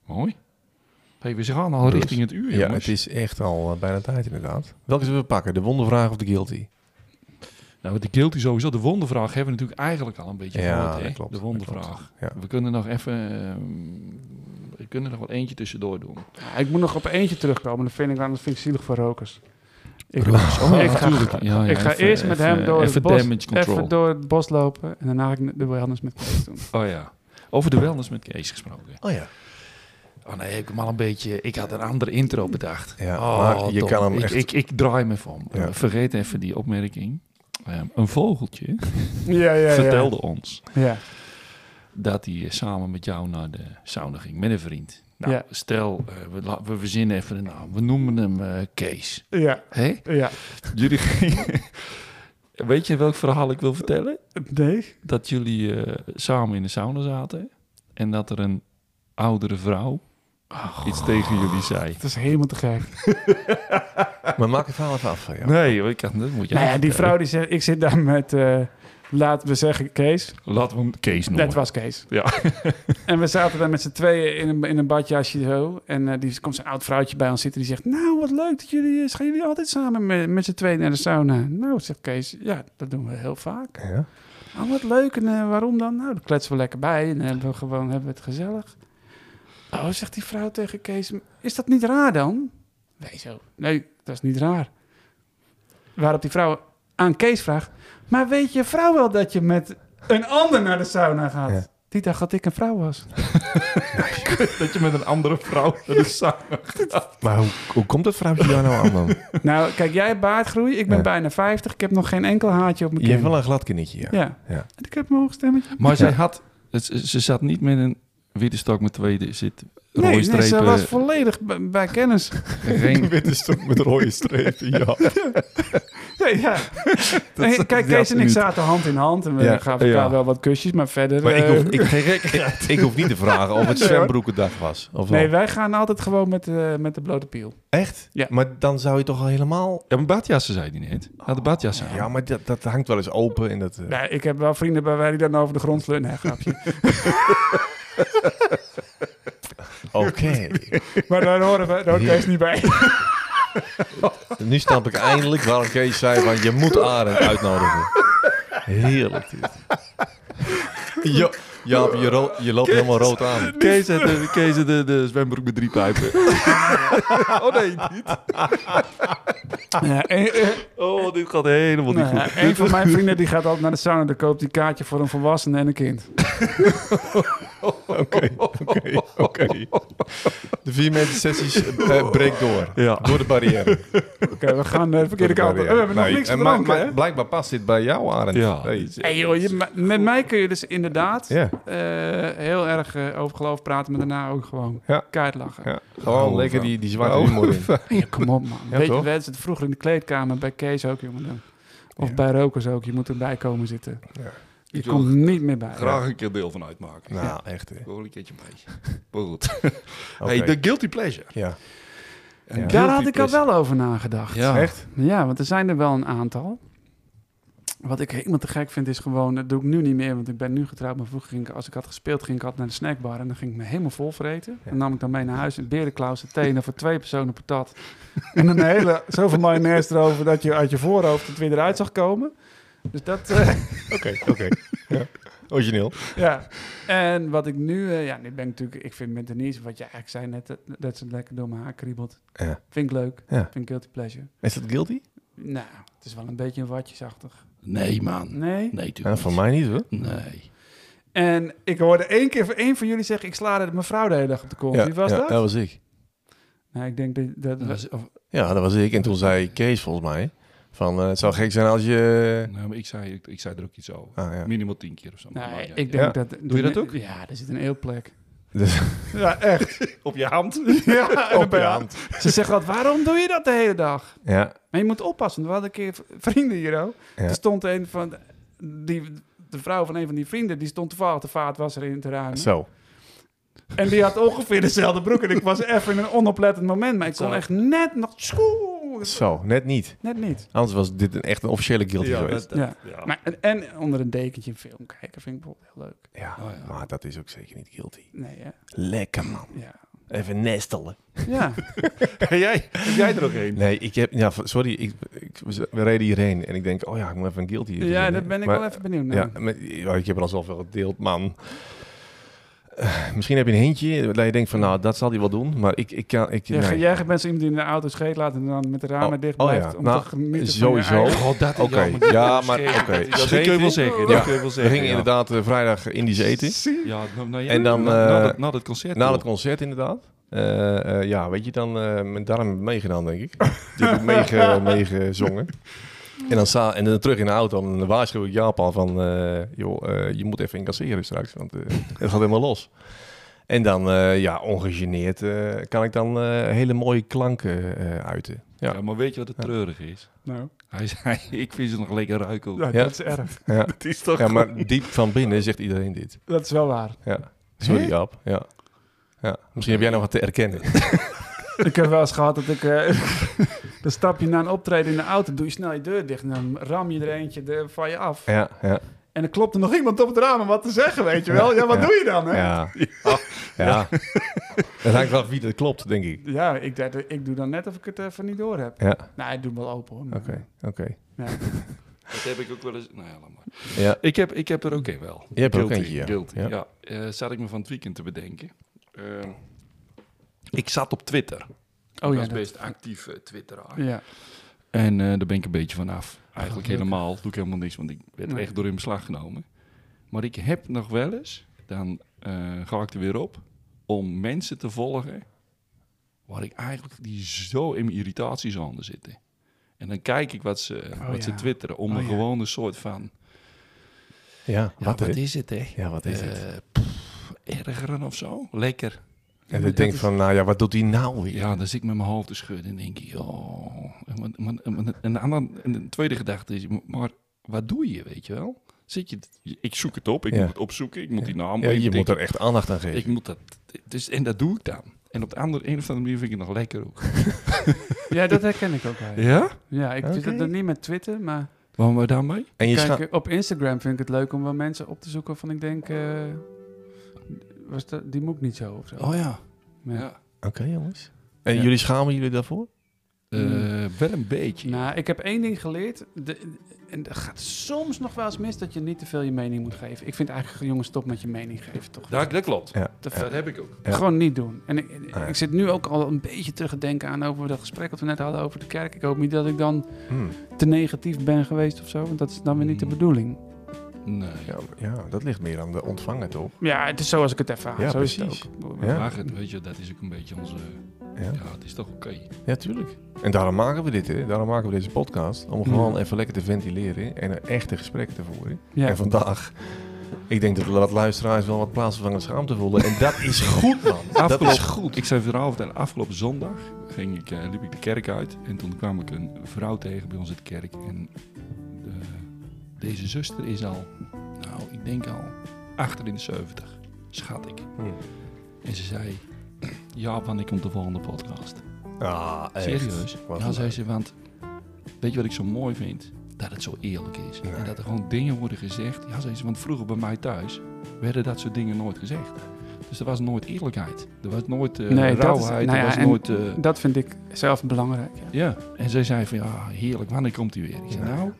Speaker 1: Mooi. Hey, we gaan al
Speaker 2: Dus-
Speaker 1: richting het uur,
Speaker 2: Ja,
Speaker 1: jongens.
Speaker 2: het is echt al eh, bijna tijd inderdaad. Welke zullen we pakken? De wondervraag of de guilty?
Speaker 1: Nou, de guilty sowieso. De wondervraag hebben we natuurlijk eigenlijk al een beetje
Speaker 2: Ja,
Speaker 1: gehoord, hè?
Speaker 2: dat klopt,
Speaker 1: de
Speaker 2: dat
Speaker 1: wondervraag.
Speaker 2: klopt, ja.
Speaker 1: We kunnen nog even... ehm, we kunnen nog wel eentje tussendoor doen.
Speaker 3: Ja, ik moet nog op eentje terugkomen. Dat vind ik, dat vind ik zielig voor rokers. Ik, Oh, ik ga,
Speaker 1: natuurlijk. Ja, ja,
Speaker 3: ik ga
Speaker 1: even-
Speaker 3: eerst met
Speaker 1: even-
Speaker 3: hem door
Speaker 1: even
Speaker 3: het bos.
Speaker 1: damage control.
Speaker 3: Even door het bos lopen. En daarna ga ik de wellness met Kees doen.
Speaker 1: Oh ja. Over de wellness met Kees gesproken.
Speaker 2: Oh ja.
Speaker 1: Oh nee, ik heb hem al een beetje... Ik had een andere intro bedacht.
Speaker 2: Ja,
Speaker 1: Oh,
Speaker 2: maar je
Speaker 1: dom.
Speaker 2: kan hem
Speaker 1: ik,
Speaker 2: echt...
Speaker 1: Ik, ik draai me van.
Speaker 2: Ja.
Speaker 1: Eh, vergeet even die opmerking. Ehm, een vogeltje
Speaker 3: Ja, ja,
Speaker 1: vertelde ons
Speaker 3: Ja.
Speaker 1: dat hij eh, samen met jou naar de sauna ging met een vriend. Nou,
Speaker 3: Ja.
Speaker 1: stel, eh, we, la- we verzinnen even een naam. We noemen hem eh, Kees.
Speaker 3: Ja,
Speaker 1: Hé?
Speaker 3: ja.
Speaker 1: Jullie gingen- Weet je welk verhaal ik wil vertellen?
Speaker 3: Nee?
Speaker 1: Dat jullie eh, samen in de sauna zaten en dat er een oudere vrouw iets tegen jullie zei.
Speaker 3: Het is helemaal te gek.
Speaker 2: Maar maak het verhaal even af eh, van jou.
Speaker 1: Nee, hoor, ik kan, dat moet je eh,
Speaker 3: nou ja, die vrouw die zegt, ik zit daar met, eh, laten we zeggen, Kees.
Speaker 1: Laten we hem Kees noemen.
Speaker 3: Dat was Kees.
Speaker 1: Ja.
Speaker 3: en we zaten daar met z'n tweeën in een, in een badjasje zo. En eh, die komt zo'n oud vrouwtje bij ons zitten. Die zegt, nou, wat leuk dat jullie, eh, gaan jullie altijd samen met, met z'n tweeën naar de sauna? Nou, zegt Kees, ja, dat doen we heel vaak.
Speaker 2: Ja.
Speaker 3: Oh, wat leuk. En eh, waarom dan? Nou, dan kletsen we lekker bij. En dan hebben we, gewoon, hebben we het gezellig. Oh, zegt die vrouw tegen Kees. Is dat niet raar dan? Nee, zo. Nee, dat is niet raar. Waarop die vrouw aan Kees vraagt. Maar weet je vrouw wel dat je met een ander naar de sauna gaat?
Speaker 2: Ja.
Speaker 3: Die dacht dat ik een vrouw was.
Speaker 1: Dat je met een andere vrouw naar de sauna
Speaker 2: Maar hoe, hoe komt dat vrouwtje daar nou aan, man?
Speaker 3: nou, kijk, jij hebt baardgroei. Ik ben
Speaker 2: Ja.
Speaker 3: bijna 50. Ik heb nog geen enkel haartje op mijn
Speaker 2: Je hebt
Speaker 3: kin.
Speaker 2: wel een glad kindertje, ja.
Speaker 3: Ja.
Speaker 2: Ja.
Speaker 3: En ik heb een hoog stemmetje.
Speaker 1: Maar zij
Speaker 2: Ja.
Speaker 1: had, het- ze ze zat niet met een witte stok met twee zit
Speaker 3: Nee,
Speaker 1: rode
Speaker 3: nee, ze
Speaker 1: strepen.
Speaker 3: was volledig b- bij kennis.
Speaker 1: geen-
Speaker 2: witte stok met rode strepen, ja.
Speaker 3: Nee, ja. Nee, kijk,
Speaker 2: ja,
Speaker 3: Kees en ik
Speaker 2: absoluut.
Speaker 3: zaten hand in hand. En we
Speaker 2: Ja,
Speaker 3: gaven elkaar
Speaker 2: ja.
Speaker 3: wel wat kusjes, maar verder...
Speaker 2: Maar ik
Speaker 3: eh,
Speaker 2: hoef, ik, ik, ik hoef niet te vragen of het
Speaker 3: Nee, hoor.
Speaker 2: zwembroekendag was. Of wel.
Speaker 3: nee, wij gaan altijd gewoon met, eh, met de blote piel.
Speaker 2: Echt?
Speaker 3: Ja.
Speaker 2: Maar dan zou je toch al helemaal...
Speaker 1: Ja, maar badjassen zei die net. Had de badjassen aan.
Speaker 2: Ja, maar dat, dat hangt wel eens open en dat... eh,
Speaker 3: Nee, ik heb wel vrienden bij wij die dan over de grond sleuren. Nee, grapje.
Speaker 2: Oké.
Speaker 3: maar daar horen we, daar hoort Kees niet bij.
Speaker 2: nu snap ik eindelijk waarom Kees zei van je moet Arend uitnodigen. Heerlijk dit. Ja, Jaap, je, ro- je loopt helemaal rood aan.
Speaker 1: Kees had de, Kees had de, de zwembroek met drie pijpen. oh nee, niet.
Speaker 3: Ja, en, eh,
Speaker 1: Oh, dit gaat helemaal niet
Speaker 3: nou,
Speaker 1: goed.
Speaker 3: ja, een van mijn vrienden die gaat altijd naar de sauna. Dan koopt hij een kaartje voor een volwassene en een kind.
Speaker 2: Oké, oké, oké. De vier mensen sessies eh, breekt door.
Speaker 1: Ja.
Speaker 2: Door de barrière.
Speaker 3: Oké, we gaan de verkeerde
Speaker 2: Door
Speaker 3: kant
Speaker 2: de
Speaker 3: op.
Speaker 2: barrière.
Speaker 3: Eh, We hebben
Speaker 2: Nee,
Speaker 3: nog niks
Speaker 2: Nou, en maar-
Speaker 3: gedronken,
Speaker 2: maar
Speaker 3: hè?
Speaker 2: Blijkbaar past dit bij jou, Arend.
Speaker 1: Ja.
Speaker 2: Hey.
Speaker 3: Hey, joh, je- ma- met mij kun je dus inderdaad
Speaker 2: Ja,
Speaker 3: eh, heel erg eh, over geloof praten, maar daarna ook gewoon
Speaker 2: Ja.
Speaker 3: keihard lachen.
Speaker 2: ja. Gewoon
Speaker 1: Oh,
Speaker 2: lekker
Speaker 1: wel.
Speaker 2: die, die zwarte
Speaker 1: Oh,
Speaker 2: humor in.
Speaker 3: Ja, kom op, man.
Speaker 2: Ja,
Speaker 3: Weet je,
Speaker 2: toch?
Speaker 3: we hadden het vroeger in de kleedkamer bij Kees ook, jongen. dan. Of
Speaker 2: Ja.
Speaker 3: bij rokers ook. Je moet erbij komen zitten.
Speaker 2: Ja.
Speaker 3: Je
Speaker 1: Ik wil
Speaker 3: komt niet meer bij.
Speaker 1: Graag een keer deel van uitmaken.
Speaker 2: Nou, echt. hè.
Speaker 1: Ik wil wel een keertje mee. Maar goed.
Speaker 2: Oké.
Speaker 1: Hey, de guilty pleasure.
Speaker 2: Ja.
Speaker 1: Een
Speaker 2: Ja.
Speaker 3: Daar
Speaker 1: guilty
Speaker 3: had ik al
Speaker 1: pleasure.
Speaker 3: wel over nagedacht.
Speaker 1: Ja.
Speaker 2: Echt?
Speaker 3: Ja, want er zijn er wel een aantal. Wat ik helemaal te gek vind is gewoon, dat doe ik nu niet meer, want ik ben nu getrouwd. Maar vroeger ging ik, als ik had gespeeld, ging ik altijd naar de snackbar en dan ging ik me helemaal vol vreten.
Speaker 2: Ja.
Speaker 3: Dan nam ik dan mee naar huis een berenklauwse thee en voor twee personen patat. en een hele, zoveel mayonaise erover dat je uit je voorhoofd het weer eruit zag komen. Dus dat, eh,
Speaker 2: Oké, oké. Ja. Origineel.
Speaker 3: ja. En wat ik nu, eh, ja, nu ben ik natuurlijk, ik vind met Denise, wat je eigenlijk zei net, dat, dat ze lekker door mijn haar kriebelt.
Speaker 2: Ja.
Speaker 3: Vind ik leuk.
Speaker 2: Ja.
Speaker 3: Vind ik guilty pleasure.
Speaker 2: Is dat guilty?
Speaker 3: Nou, het is wel een beetje een watjesachtig.
Speaker 1: Nee, man.
Speaker 3: Nee?
Speaker 1: Nee,
Speaker 2: Ja,
Speaker 1: natuurlijk
Speaker 2: voor mij niet hoor.
Speaker 1: niet. Nee.
Speaker 3: En ik hoorde één keer van één van jullie zeggen, ik sla de mevrouw de hele dag op de kont. Wie was
Speaker 2: ja,
Speaker 3: dat?
Speaker 2: Dat was ik.
Speaker 3: Nou, ik denk dat... dat
Speaker 1: Dat was- of-
Speaker 2: Ja, dat was ik. En toen zei Kees volgens mij van eh, het zou gek zijn als je...
Speaker 1: nou, maar ik, zei, ik, ik zei er ook iets over.
Speaker 2: Ah, Eh. ja.
Speaker 1: Minimaal tien keer of zo. Maar
Speaker 3: nee,
Speaker 1: ja,
Speaker 3: Nou,
Speaker 1: ja.
Speaker 3: ik denk
Speaker 2: Ja.
Speaker 3: dat...
Speaker 1: Doe je dat ook?
Speaker 3: Ja, er zit een eelplek.
Speaker 2: Dus,
Speaker 3: Ja, echt.
Speaker 1: Op je hand.
Speaker 3: ja, en dan
Speaker 2: op je
Speaker 3: ben je-
Speaker 2: hand.
Speaker 3: Ze zeggen altijd, waarom doe je dat de hele dag?
Speaker 2: Ja,
Speaker 3: Maar je moet oppassen. We hadden een keer v- vrienden hier ook.
Speaker 2: Ja.
Speaker 3: Er stond een van... de- Die, de vrouw van een van die vrienden, die stond toevallig de vaatwasser in te ruimen.
Speaker 2: zo.
Speaker 3: En die had ongeveer dezelfde broek. En ik was even in een onoplettend moment. Maar ik kon
Speaker 1: Zo.
Speaker 3: echt net nog... schoe-
Speaker 2: Zo, net niet.
Speaker 3: Net niet.
Speaker 2: Anders was dit een, echt een officiële guilty
Speaker 1: Ja,
Speaker 2: geweest.
Speaker 1: dat- dat-
Speaker 3: Ja.
Speaker 1: ja.
Speaker 3: Maar, en, en onder een dekentje een film kijken vind ik bijvoorbeeld heel leuk.
Speaker 2: Ja,
Speaker 1: Oh, ja.
Speaker 2: maar dat is ook zeker niet guilty.
Speaker 3: Nee, hè?
Speaker 2: Lekker man.
Speaker 3: Ja.
Speaker 2: Even nestelen.
Speaker 3: Ja.
Speaker 1: Hey, jij, heb jij er nog één?
Speaker 2: Nee, ik heb... Ja, v- sorry. Ik, ik, we reden hierheen en ik denk, oh ja, ik moet even een guilty.
Speaker 3: ja,
Speaker 2: verzinnen.
Speaker 3: daar ben ik
Speaker 2: Maar-
Speaker 3: wel even benieuwd naar.
Speaker 2: Ja, maar, ja, ik heb er al zoveel gedeeld, man. Eh, Misschien heb je een hintje dat je denkt van, nou, dat zal hij wel doen. Maar ik, ik kan... Ik,
Speaker 3: Jij-
Speaker 2: nee.
Speaker 3: Jij bent zo iemand die in de auto scheet laat en dan met de ramen
Speaker 2: Oh,
Speaker 3: dicht
Speaker 2: oh ja.
Speaker 3: blijft om
Speaker 2: Nou,
Speaker 3: te genieten van
Speaker 2: sowieso.
Speaker 3: je eigen-
Speaker 1: God, oh, dat
Speaker 2: Oké, ja, maar oké.
Speaker 1: Dat kun je wel zeggen. Dat
Speaker 2: Ja.
Speaker 1: kun je wel
Speaker 2: We
Speaker 1: zeggen. ja.
Speaker 2: gingen inderdaad eh, vrijdag Indisch eten.
Speaker 1: Ja, nou, nou, ja,
Speaker 2: En dan,
Speaker 1: na, na
Speaker 2: eh,
Speaker 1: dat- na dat concert.
Speaker 2: Na
Speaker 1: toch?
Speaker 2: het concert inderdaad. Eh, eh, ja, weet je, dan eh, mijn darm heb ik meegedaan, denk ik. Die heb ik meege- meegezongen. En dan, sta, en dan terug in de auto en dan waarschuw ik Jaap al van... eh, joh, eh, je moet even incasseren straks, want eh, het gaat helemaal los. En dan, eh, ja, ongegeneerd eh, kan ik dan eh, hele mooie klanken eh, uiten. Ja.
Speaker 1: ja. maar weet je wat het
Speaker 2: Ja.
Speaker 1: treurig is?
Speaker 3: Nou,
Speaker 1: Hij zei, ik vind ze nog lekker ruiken.
Speaker 3: ja,
Speaker 2: Ja.
Speaker 3: dat is erg.
Speaker 2: Ja.
Speaker 1: Het is toch
Speaker 2: ja, maar diep van binnen zegt iedereen dit.
Speaker 3: Dat is wel waar.
Speaker 2: Ja. Sorry, Jaap. Ja. Ja. Misschien heb jij nog wat te erkennen.
Speaker 3: ik heb wel eens gehad dat ik... eh, dan stap je na een optreden in de auto, doe je snel je deur dicht en dan ram je er eentje de- van je af.
Speaker 2: Ja, ja.
Speaker 3: En dan klopt er nog iemand op het raam om wat te zeggen, weet je wel. Ja, wat
Speaker 2: Ja.
Speaker 3: doe je dan, hè?
Speaker 2: Ja. Ja. ja. Het hangt af wie dat klopt, denk ik.
Speaker 3: Ja, ik, dacht, ik doe dan net of ik het even niet door heb.
Speaker 2: Ja.
Speaker 3: Nou, ik doe hem wel open hoor. maar-
Speaker 2: Oké, oké.
Speaker 3: Ja.
Speaker 1: Dat heb ik ook wel eens... Nou ja, laat maar.
Speaker 2: Ja.
Speaker 1: Ik heb, ik heb er ook een wel.
Speaker 2: Je hebt er ook
Speaker 1: Guilty,
Speaker 2: eentje, ja.
Speaker 1: Guilty,
Speaker 2: Ja.
Speaker 1: ja. Eh, zat ik me van het weekend te bedenken. Ehm, ik zat op Twitter.
Speaker 3: Oh
Speaker 1: ik
Speaker 3: ja,
Speaker 1: was
Speaker 3: dat-
Speaker 1: best actief eh, twitteraar.
Speaker 3: ja.
Speaker 1: En eh, daar ben ik een beetje van af. Eigenlijk
Speaker 3: Oh, leuk.
Speaker 1: helemaal. Doe ik helemaal niks, want ik werd
Speaker 3: Nee.
Speaker 1: echt door in beslag genomen. Maar ik heb nog wel eens dan eh, ga ik er weer op om mensen te volgen waar ik eigenlijk die zo in mijn irritatiezone zitten. En dan kijk ik wat ze,
Speaker 3: Oh,
Speaker 1: wat ze
Speaker 3: ja.
Speaker 1: twitteren om
Speaker 3: Oh,
Speaker 1: een
Speaker 3: ja.
Speaker 1: gewoon een soort van...
Speaker 2: Ja,
Speaker 1: Ja,
Speaker 2: wat,
Speaker 1: wat
Speaker 2: is,
Speaker 1: is het, hè?
Speaker 2: ja, wat is het?
Speaker 1: Eh, pff, ergeren of zo? Lekker.
Speaker 2: En
Speaker 3: dat
Speaker 2: ik denk
Speaker 3: is-
Speaker 2: van, nou ja, wat doet hij nou weer?
Speaker 1: Ja, dan zit ik met mijn hoofd te schudden en denk ik, oh. En, maar- maar- maar- en de, andere, en de tweede gedachte is, maar wat doe je, weet je wel? Zit je, ik zoek het op, ik
Speaker 2: Ja.
Speaker 1: moet het opzoeken, ik moet die naam...
Speaker 2: Ja, je
Speaker 1: ik-
Speaker 2: moet er echt aandacht aan geven.
Speaker 1: ik moet dat, dus, en dat doe ik dan. En op de andere, een of andere manier vind ik het nog lekker ook.
Speaker 3: Ja, dat herken ik ook wel.
Speaker 1: Ja?
Speaker 3: Ja, ik doe
Speaker 2: Oké.
Speaker 3: dat dan niet met Twitter, maar
Speaker 1: Waarom wij daarmee?
Speaker 2: en je scha-
Speaker 3: kijk, op Instagram vind ik het leuk om wel mensen op te zoeken van ik denk, eh, was dat, die moet ik niet zo of zo.
Speaker 1: Oh ja.
Speaker 3: Ja.
Speaker 2: Oké, jongens. En
Speaker 1: Ja.
Speaker 2: jullie schamen jullie daarvoor?
Speaker 1: Eh, wel een beetje.
Speaker 3: Nou, ik heb één ding geleerd. De, en er gaat soms nog wel eens mis dat je niet te veel je mening moet geven. Ik vind eigenlijk, jongens, stop met je mening geven, toch?
Speaker 1: dat, dat klopt.
Speaker 2: Ja.
Speaker 3: Te veel.
Speaker 1: Dat heb ik ook.
Speaker 2: Ja.
Speaker 3: Gewoon niet doen. En ik, ik-
Speaker 2: Nee.
Speaker 3: ik zit nu ook al een beetje terug te denken aan over dat gesprek wat we net hadden over de kerk. Ik hoop niet dat ik dan
Speaker 2: Hmm.
Speaker 3: te negatief ben geweest of zo, want dat is dan weer niet de
Speaker 1: Mm.
Speaker 3: bedoeling.
Speaker 1: Nee.
Speaker 2: Ja, ja, dat ligt meer aan de ontvanger, toch?
Speaker 3: Ja, het is zoals ik het ervaar.
Speaker 2: Ja,
Speaker 3: zo is
Speaker 2: precies.
Speaker 3: het ook.
Speaker 2: Ja.
Speaker 1: Vraag het, weet je, dat is ook een beetje onze...
Speaker 2: Ja,
Speaker 1: Ja, het is toch oké.
Speaker 2: ja tuurlijk. En daarom maken we dit, hè. Daarom maken we deze podcast. Om gewoon even lekker te ventileren en er echte gesprekken te voeren.
Speaker 3: Ja.
Speaker 2: En vandaag, ik denk dat we wat luisteraars wel wat plaatsvervangend schaamte voelen. En dat is goed, man. dat
Speaker 1: Afgelopen,
Speaker 2: is goed.
Speaker 1: Ik zei vanavond en afgelopen zondag ging ik, eh, liep ik de kerk uit. En toen kwam ik een vrouw tegen bij ons in de kerk. En eh, deze zuster is al, nou, ik denk al achter in de 70, schat ik.
Speaker 2: Hmm.
Speaker 1: En ze zei, ja, wanneer komt de volgende podcast?
Speaker 2: Ah, echt.
Speaker 1: Serieus?
Speaker 2: Wat
Speaker 1: Ja,
Speaker 2: een-
Speaker 1: zei ze, want weet je wat ik zo mooi vind? Dat het zo eerlijk is.
Speaker 2: Nee.
Speaker 1: En dat er gewoon dingen worden gezegd. Ja, zei ze, want vroeger bij mij thuis werden dat soort dingen nooit gezegd. Dus er was nooit eerlijkheid. Er was nooit eh
Speaker 3: Nee, dat is-
Speaker 1: rauwheid.
Speaker 3: nou
Speaker 1: er
Speaker 3: ja,
Speaker 1: was
Speaker 3: en-
Speaker 1: nooit... eh,
Speaker 3: Dat vind ik zelf belangrijk. Ja.
Speaker 1: ja, en zij zei van, ja, heerlijk, wanneer komt hij weer? Ik zei, nou,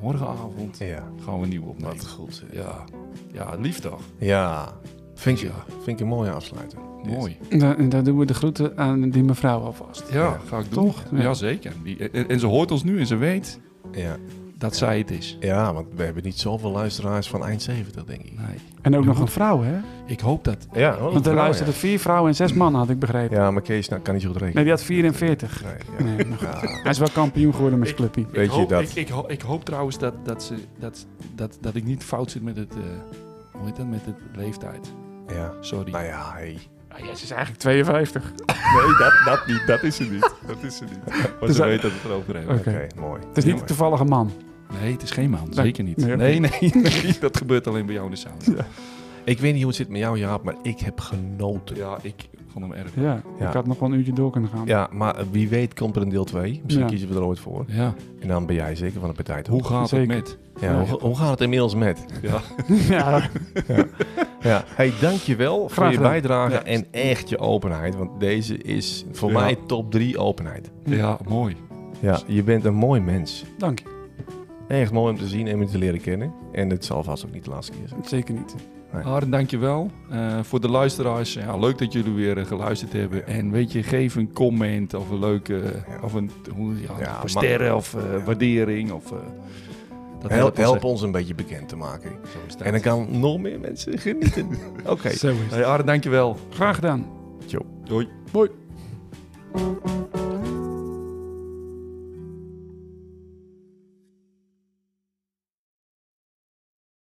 Speaker 1: morgenavond
Speaker 2: Ja,
Speaker 1: gaan we een nieuwe opnemen.
Speaker 2: wat goed. zeg.
Speaker 1: Ja. ja, lief toch?
Speaker 2: Ja, vind ik,
Speaker 1: Ja.
Speaker 2: vind ik een mooie afsluiter. Dit.
Speaker 1: Mooi.
Speaker 3: Dan, en dan doen we de groeten aan die mevrouw alvast.
Speaker 1: Ja, ga ik doen.
Speaker 3: Toch?
Speaker 1: Ja. Jazeker. Die- en, en ze hoort ons nu en ze weet
Speaker 2: Ja.
Speaker 1: dat zij het is.
Speaker 2: ja, want we hebben niet zoveel luisteraars van eind 70, denk ik.
Speaker 1: Nee.
Speaker 3: En ook nog een vrouw, hè?
Speaker 1: Ik hoop dat
Speaker 2: Ja, hoor,
Speaker 3: Want er
Speaker 2: vrouwen,
Speaker 3: luisterden vier vrouwen en zes mannen, had ik
Speaker 2: ja.
Speaker 3: begrepen.
Speaker 2: Ja, maar Kees nou, kan niet zo goed rekenen.
Speaker 3: Nee, die had 44.
Speaker 2: Nee, ja.
Speaker 3: Nee, maar goed.
Speaker 2: Ja.
Speaker 3: Hij is wel kampioen geworden met zijn clubpie.
Speaker 2: Weet
Speaker 1: ik
Speaker 2: je
Speaker 1: hoop,
Speaker 2: dat?
Speaker 1: Ik, ik, ho- ik hoop trouwens dat, dat, ze, dat, dat, dat ik niet fout zit met het. eh, hoe heet dat? Met de leeftijd.
Speaker 2: ja.
Speaker 1: Sorry.
Speaker 2: Nou ja, hey.
Speaker 3: Ah, ja, ze is eigenlijk 52.
Speaker 1: Nee, dat, dat niet. Dat is ze niet. Dat is ze niet. Maar
Speaker 3: Dus
Speaker 1: ze
Speaker 3: dat-
Speaker 1: weet dat we het erover hebben.
Speaker 3: Oké.
Speaker 2: Oké, mooi.
Speaker 3: Het is niet een toevallige man.
Speaker 1: Nee, het is geen man.
Speaker 3: Nee.
Speaker 1: Zeker niet.
Speaker 3: Nee,
Speaker 1: Nee,
Speaker 3: oké.
Speaker 1: nee, nee, Dat gebeurt alleen bij jou in de sauna. Ja,
Speaker 2: Ik weet niet hoe het zit met jou, Jaap, maar ik heb genoten. Ja,
Speaker 1: ik vond hem erg.
Speaker 3: Ja,
Speaker 2: Ja.
Speaker 3: ik had nog wel een uurtje door kunnen gaan.
Speaker 2: maar wie weet komt er een deel 2. Misschien
Speaker 3: Ja.
Speaker 2: kiezen we er ooit voor.
Speaker 1: Ja,
Speaker 2: En dan ben jij zeker van de partij. toch?
Speaker 1: hoe gaat
Speaker 3: Zeker.
Speaker 1: het met?
Speaker 2: Ja, hoe, hoe gaat het inmiddels met?
Speaker 1: Ja.
Speaker 3: Ja.
Speaker 2: Ja. Hey, dankjewel voor
Speaker 3: Graag
Speaker 2: je
Speaker 3: gedaan.
Speaker 2: bijdrage
Speaker 1: Ja.
Speaker 2: en echt je openheid. Want deze is voor
Speaker 1: Ja.
Speaker 2: mij top 3 openheid.
Speaker 1: ja, mooi.
Speaker 2: Ja, je bent een mooi mens.
Speaker 3: Dank je.
Speaker 2: Echt mooi om te zien en om je te leren kennen. En het zal vast ook niet de laatste keer zijn.
Speaker 3: Zeker niet.
Speaker 1: Arend, dankjewel. Eh voor de luisteraars, ja, leuk dat jullie weer eh, geluisterd hebben. En weet je, geef een comment of een leuke, eh,
Speaker 2: Ja.
Speaker 1: of een, hoe, ja,
Speaker 2: Ja,
Speaker 1: of
Speaker 2: maar-
Speaker 1: sterren of eh,
Speaker 2: Ja.
Speaker 1: waardering. Of, eh, dat
Speaker 2: Help,
Speaker 1: helpt ons
Speaker 2: help
Speaker 1: echt.
Speaker 2: ons een beetje bekend te maken.
Speaker 1: Zo is dat.
Speaker 2: En dan kan nog meer mensen genieten. Oké.
Speaker 3: Zo is het.
Speaker 1: Hey Arend, dankjewel.
Speaker 3: Graag gedaan.
Speaker 1: Doei.
Speaker 3: Hoi.